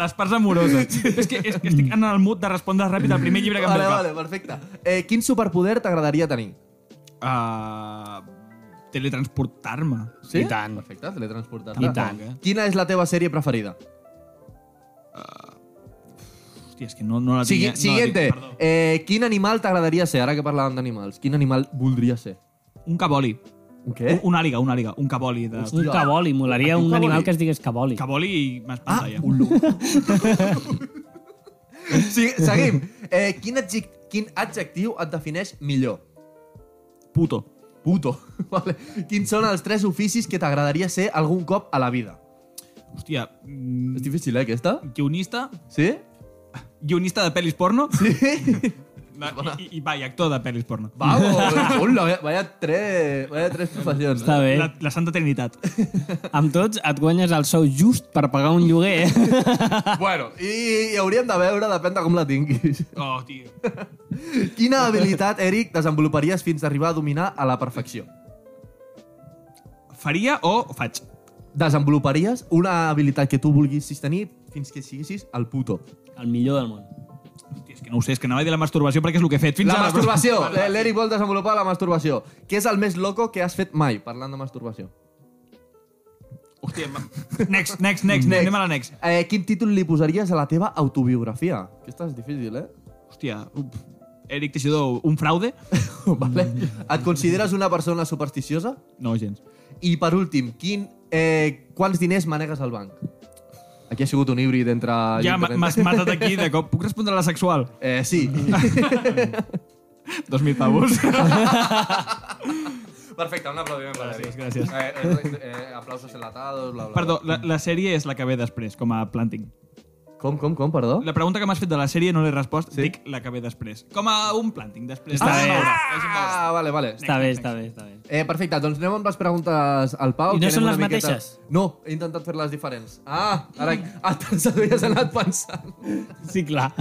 Speaker 5: Les parts amoroses.
Speaker 4: [laughs]
Speaker 5: és, que, és que estic en el mood de respondre ràpid al primer llibre que em ve
Speaker 3: Vale,
Speaker 5: al cap.
Speaker 3: vale, perfecte. Eh, quin superpoder t'agradaria tenir?
Speaker 5: a teletransportar-me.
Speaker 3: Sí? I tant. Perfecte, teletransportar-te.
Speaker 4: I tant.
Speaker 3: Quina és la teva sèrie preferida?
Speaker 5: Hòstia, és que no, no la
Speaker 3: Sigui,
Speaker 5: tinc... no,
Speaker 3: siguiente.
Speaker 5: la tinc,
Speaker 3: eh, quin animal t'agradaria ser, ara que parlàvem d'animals? Quin animal voldria ser?
Speaker 5: perdó. un caboli.
Speaker 3: Un què?
Speaker 5: Un àliga, un àliga. Un caboli. De...
Speaker 4: Un caboli, molaria
Speaker 3: Un
Speaker 4: un,
Speaker 3: caboli.
Speaker 4: animal que es digués caboli.
Speaker 5: Caboli i m'espanta
Speaker 3: Ah,
Speaker 5: ja.
Speaker 3: un lobo. sí, seguim. Eh, quin, adjec quin adjectiu et defineix millor?
Speaker 5: Puto.
Speaker 3: Puto. [laughs] Vale. Quins són els tres oficis que t'agradaria ser algun cop a la vida?
Speaker 5: Hòstia, mm,
Speaker 3: És difícil, eh, aquesta?
Speaker 5: guionista,
Speaker 3: Sí?
Speaker 5: guionista de pel·lis porno
Speaker 3: Sí?
Speaker 5: Va, i, i, i, va, i actor de pel·lis porno.
Speaker 3: Vamos. Hola, vaya tres, vaya tres professions. eh?
Speaker 4: Està bé.
Speaker 5: La, la Santa Trinitat.
Speaker 4: Amb tots et guanyes el sou just per pagar un lloguer. eh?
Speaker 3: Bueno, i, i hauríem de veure, depèn de com la tinguis. [laughs]
Speaker 5: Oh, tio.
Speaker 3: Quina habilitat, Eric, desenvoluparies fins a arribar a dominar a la perfecció?
Speaker 5: Faria o faig?
Speaker 3: Desenvoluparies una habilitat que tu vulguissis tenir fins que siguessis el puto.
Speaker 4: El millor del món.
Speaker 5: Hòstia, és que no ho sé, és que anava a dir la masturbació perquè és el que he fet. Fins
Speaker 3: La
Speaker 5: ara, però- [laughs]
Speaker 3: masturbació! L'Eric vol desenvolupar la masturbació. Què és el més loco que has fet mai, parlant de masturbació?
Speaker 5: Hòstia, ma- next, next, next, next. Anem a la next.
Speaker 3: Eh, quin títol li posaries a la teva autobiografia? Aquesta és difícil, eh? [laughs]
Speaker 5: Hòstia, up. Eric Teixidor, un fraude?
Speaker 3: vale. Et consideres una persona supersticiosa?
Speaker 5: No, gens.
Speaker 3: I per últim, quin, eh, quants diners manegues al banc? Aquí ha sigut un híbrid entre...
Speaker 5: Ja m'ha-
Speaker 3: Ajuntament-
Speaker 5: m'has matat aquí de cop. Puc respondre a la sexual?
Speaker 3: [laughs] Eh,
Speaker 5: [laughs]
Speaker 3: sí.
Speaker 5: 2.000 pavos.
Speaker 4: [laughs]
Speaker 3: Perfecte, un aplaudiment per
Speaker 5: Gràcies, gràcies.
Speaker 3: Eh, eh, eh, aplausos enlatados, bla, bla, bla.
Speaker 5: Perdó, la, la sèrie és la que ve després, com a planting.
Speaker 3: Com, com, com, perdó?
Speaker 5: La pregunta que m'has fet de la sèrie no l'he respost,
Speaker 3: Sí?
Speaker 5: sí? dic la que ve després. Com a un planting, després.
Speaker 4: Està
Speaker 5: de-
Speaker 4: bé.
Speaker 3: Ah, vale, vale.
Speaker 4: Està bé, està bé, està bé.
Speaker 3: Eh, perfecte, doncs anem amb les preguntes al Pau.
Speaker 4: I no
Speaker 3: que anem
Speaker 4: són
Speaker 3: una
Speaker 4: les
Speaker 3: miqueta-
Speaker 4: mateixes?
Speaker 3: No, he intentat fer-les diferents. Ah, ara ah, te'ls havies anat pensant.
Speaker 4: Sí, clar.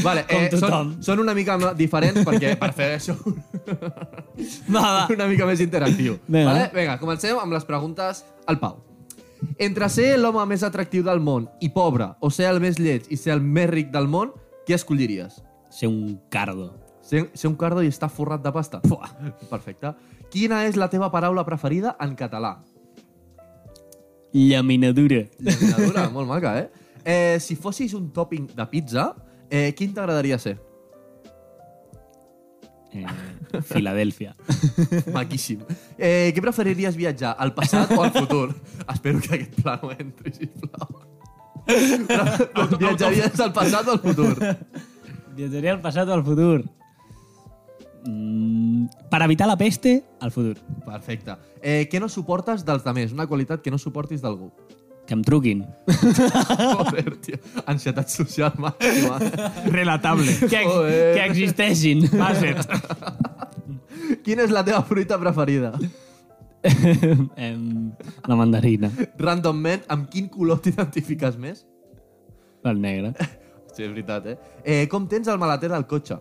Speaker 3: Vale, eh, són,
Speaker 4: Com tothom.
Speaker 3: són una mica diferents perquè per fer això
Speaker 4: Va, va.
Speaker 3: [laughs] una mica més interactiu.
Speaker 4: Vinga.
Speaker 3: Vale? Vinga, comencem amb les preguntes al Pau. Entre ser l'home més atractiu del món i pobre, o ser el més lleig i ser el més ric del món, què escolliries?
Speaker 4: Ser un cardo.
Speaker 3: Ser, ser un cardo i estar forrat de pasta? Pua. Perfecte. Quina és la teva paraula preferida en català?
Speaker 4: Llaminadura.
Speaker 3: Llaminadura, molt maca, eh? eh? Si fossis un topping de pizza, eh, quin t'agradaria ser?
Speaker 4: Eh, Filadèlfia.
Speaker 3: Maquíssim. Eh, què preferiries viatjar, al passat o al futur? Espero que aquest pla no entri, sisplau. Però, viatjaries al passat o al futur?
Speaker 4: Viatjaria al passat o al futur? Mm, per evitar la peste, al futur.
Speaker 3: Perfecte. Eh, què no suportes dels demés? Una qualitat que no suportis d'algú.
Speaker 4: Que em truquin.
Speaker 3: Joder, tio. Ansietat social màxima.
Speaker 5: Relatable.
Speaker 4: Que, ex
Speaker 3: Joder.
Speaker 4: que existeixin.
Speaker 5: Basset.
Speaker 3: Quina és la teva fruita preferida?
Speaker 4: [laughs] Em, la mandarina.
Speaker 3: Randomment, amb quin color t'identifiques més?
Speaker 4: El negre.
Speaker 3: Sí, és veritat, eh? eh com tens el maleter del cotxe?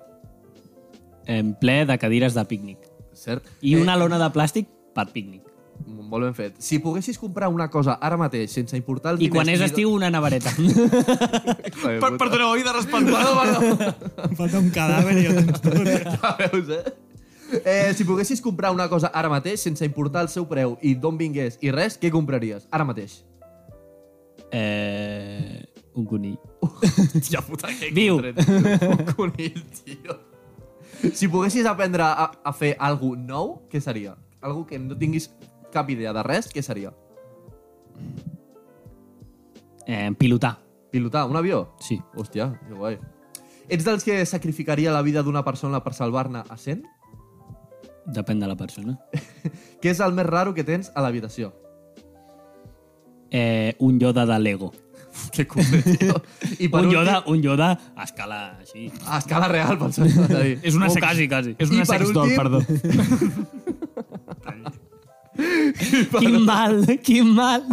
Speaker 4: En ple de cadires de pícnic.
Speaker 3: Cert?
Speaker 4: I
Speaker 3: eh,
Speaker 4: una lona de plàstic per pícnic.
Speaker 3: Molt ben fet. Si poguessis comprar una cosa ara mateix, sense importar el
Speaker 4: I quan és estiu, una nevareta.
Speaker 3: Per,
Speaker 5: Perdoneu, he de respondre.
Speaker 6: [laughs] Em falta un cadàver i jo tens tot.
Speaker 3: [laughs] Ja veus, eh? Eh, si poguessis comprar una cosa ara mateix, sense importar el seu preu i d'on vingués i res, què compraries? Ara mateix. [laughs]
Speaker 4: eh, un conill.
Speaker 3: Ja puta, que
Speaker 4: Viu.
Speaker 3: contret. Un conill, tio. Si poguessis aprendre a, a fer algo nou, què seria? Algo que no tinguis cap idea de res, què seria?
Speaker 4: Eh, pilotar.
Speaker 3: Pilotar un avió?
Speaker 4: Sí.
Speaker 3: Hòstia, que guai. Ets dels que sacrificaria la vida d'una persona per salvar-ne a 100?
Speaker 4: Depèn de la persona.
Speaker 3: Què és el més raro que tens a l'habitació?
Speaker 4: Eh, un Yoda de Lego.
Speaker 3: Que cumple, tio. [laughs] I
Speaker 4: Un
Speaker 3: últim-
Speaker 4: Yoda, un Yoda a escala així.
Speaker 3: A escala real, per això.
Speaker 5: És
Speaker 3: Oh,
Speaker 5: una
Speaker 4: O
Speaker 5: sex...
Speaker 4: quasi, quasi.
Speaker 5: És una
Speaker 3: I per
Speaker 5: sex doll,
Speaker 3: últim-
Speaker 5: perdó.
Speaker 4: [laughs] Quin mal, quin mal.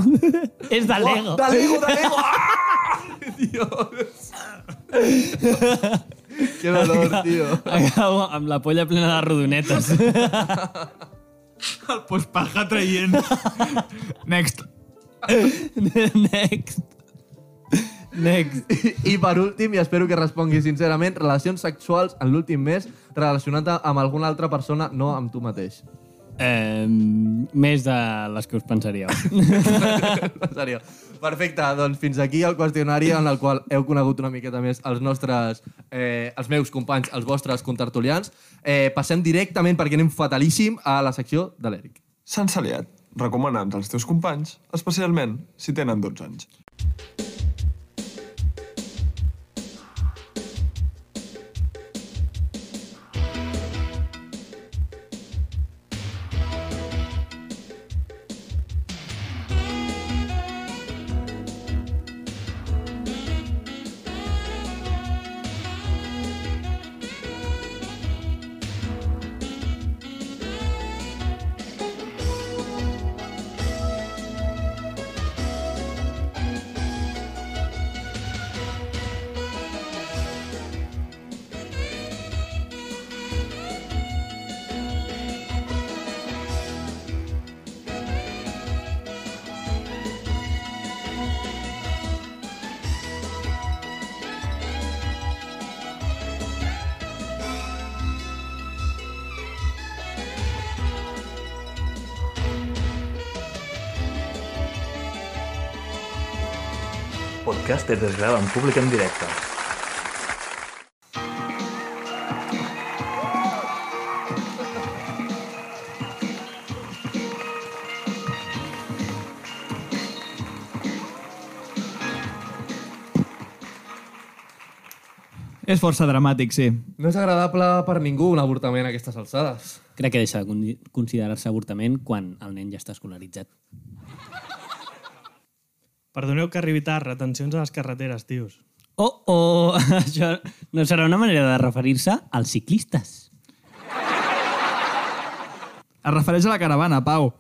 Speaker 4: És de
Speaker 3: Oh,
Speaker 4: Lego.
Speaker 3: De Lego, de Lego! Ah! Dios. Qué dolor, tio.
Speaker 4: Acabo amb la polla plena de rodonetes.
Speaker 5: [laughs] El pospaja traient. Next.
Speaker 4: Next. Next.
Speaker 3: I per últim, i espero que responguis sincerament, relacions sexuals en l'últim mes relacionat amb alguna altra persona, no amb tu mateix.
Speaker 4: Eh, més de les que us [laughs] pensaríeu.
Speaker 3: En sèrio. Perfecte, doncs fins aquí el qüestionari en el qual heu conegut una miqueta més els nostres, eh, els meus companys, els vostres contertulians. Eh, passem directament, perquè anem fatalíssim, a la secció de l'Eric.
Speaker 1: Sant Saliat, recomana'ns als teus companys, especialment si tenen 12 anys.
Speaker 12: Podcast des desgrava en públic en directe.
Speaker 5: Ah! És força dramàtic, sí.
Speaker 3: No és agradable per ningú un avortament a aquestes alçades.
Speaker 4: Crec que deixa de con- considerar-se avortament quan el nen ja està escolaritzat.
Speaker 6: Perdoneu que arribi tard, retencions a les carreteres, tios.
Speaker 4: Oh, oh, [laughs] això no serà una manera de referir-se als ciclistes.
Speaker 5: Es refereix a la caravana, Pau.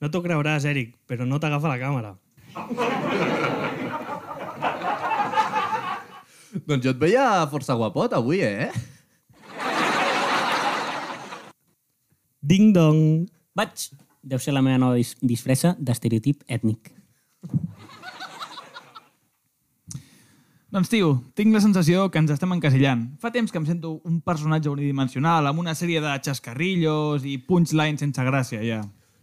Speaker 6: No t'ho creuràs, Eric, però no t'agafa la càmera.
Speaker 3: Doncs jo et veia força guapot avui, eh?
Speaker 6: Ding dong.
Speaker 4: Vaig. Deu ser la meva nova dis disfressa d'estereotip ètnic.
Speaker 5: Doncs, tio, tinc la sensació que ens estem encasillant. Fa temps que em sento un personatge unidimensional, amb una sèrie de xascarrillos i punchlines sense gràcia, ja.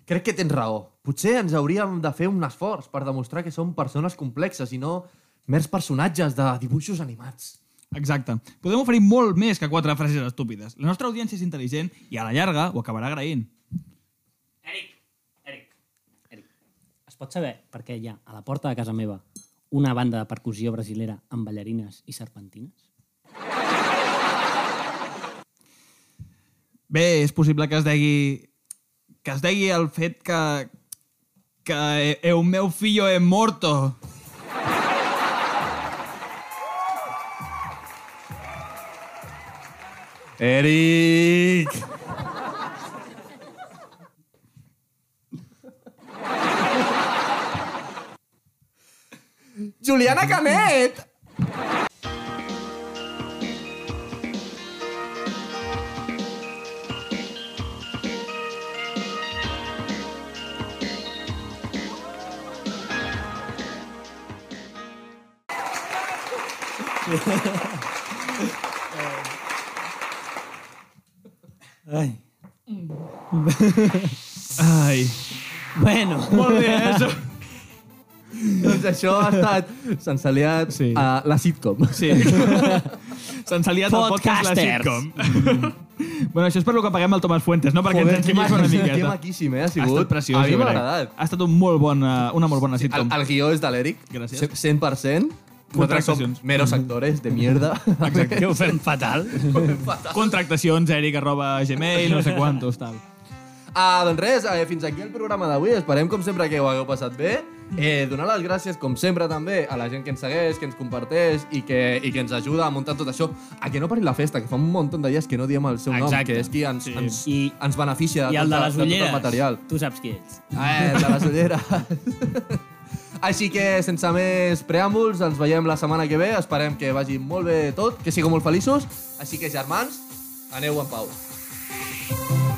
Speaker 3: Crec que tens raó. Potser ens hauríem de fer un esforç per demostrar que som persones complexes i no mers personatges de dibuixos animats.
Speaker 5: Exacte. Podem oferir molt més que quatre frases estúpides. La nostra audiència és intel·ligent i a la llarga ho acabarà agraint.
Speaker 4: Es pot saber per què hi ha a la porta de casa meva una banda de percussió brasilera amb ballarines i serpentines?
Speaker 5: Bé, és possible que es degui... que es degui el fet que... que el meu fill és morto.
Speaker 3: Eric! Juliana Canet!
Speaker 4: Ai.
Speaker 5: Ai.
Speaker 4: Bueno.
Speaker 5: Molt bé, eh, això.
Speaker 3: doncs això ha estat sense aliat sí. a la sitcom.
Speaker 5: Sí. Sense aliat el podcast la
Speaker 3: Podcasters.
Speaker 5: sitcom. bueno, això és per lo que paguem el Tomàs Fuentes, no? Perquè
Speaker 3: Joder,
Speaker 5: ens ensenyis una
Speaker 3: que
Speaker 5: miqueta.
Speaker 3: maquíssim, eh? Ha
Speaker 5: Ha
Speaker 3: sigut.
Speaker 5: estat preciós.
Speaker 3: A mi
Speaker 5: jo
Speaker 3: m'ha
Speaker 5: crec.
Speaker 3: agradat.
Speaker 5: Ha estat un molt bon, eh, una molt bona
Speaker 3: El,
Speaker 5: sitcom.
Speaker 3: el guió és de l'Eric.
Speaker 5: Gràcies.
Speaker 3: Ce- 100%. Nosaltres som
Speaker 5: Contractacions.
Speaker 3: meros actores de mierda.
Speaker 5: Exacte.
Speaker 4: Ho fem fatal.
Speaker 5: Contractacions, eric, arroba gmail, no sé quantos, tal.
Speaker 3: [laughs] Ah, doncs res, eh, fins aquí el programa d'avui. Esperem, com sempre, que ho hagueu passat bé. Eh, donar les gràcies, com sempre, també, a la gent que ens segueix, que ens comparteix i que, i que ens ajuda a muntar tot això. A que no parin la festa, que fa un munt de dies que no diem el seu nom,
Speaker 4: Exacte.
Speaker 3: que és qui ens,
Speaker 4: Sí.
Speaker 3: ens,
Speaker 4: I-
Speaker 3: ens beneficia de,
Speaker 4: I el de
Speaker 3: tot,
Speaker 4: les
Speaker 3: de tot el
Speaker 4: ulleres.
Speaker 3: material.
Speaker 4: Tu saps qui ets.
Speaker 3: Eh, de les ulleres. [laughs] Així que, sense més preàmbuls, ens veiem la setmana que ve. Esperem que vagi molt bé tot, que sigueu molt feliços. Així que, germans, aneu en pau.
Speaker 8: Thank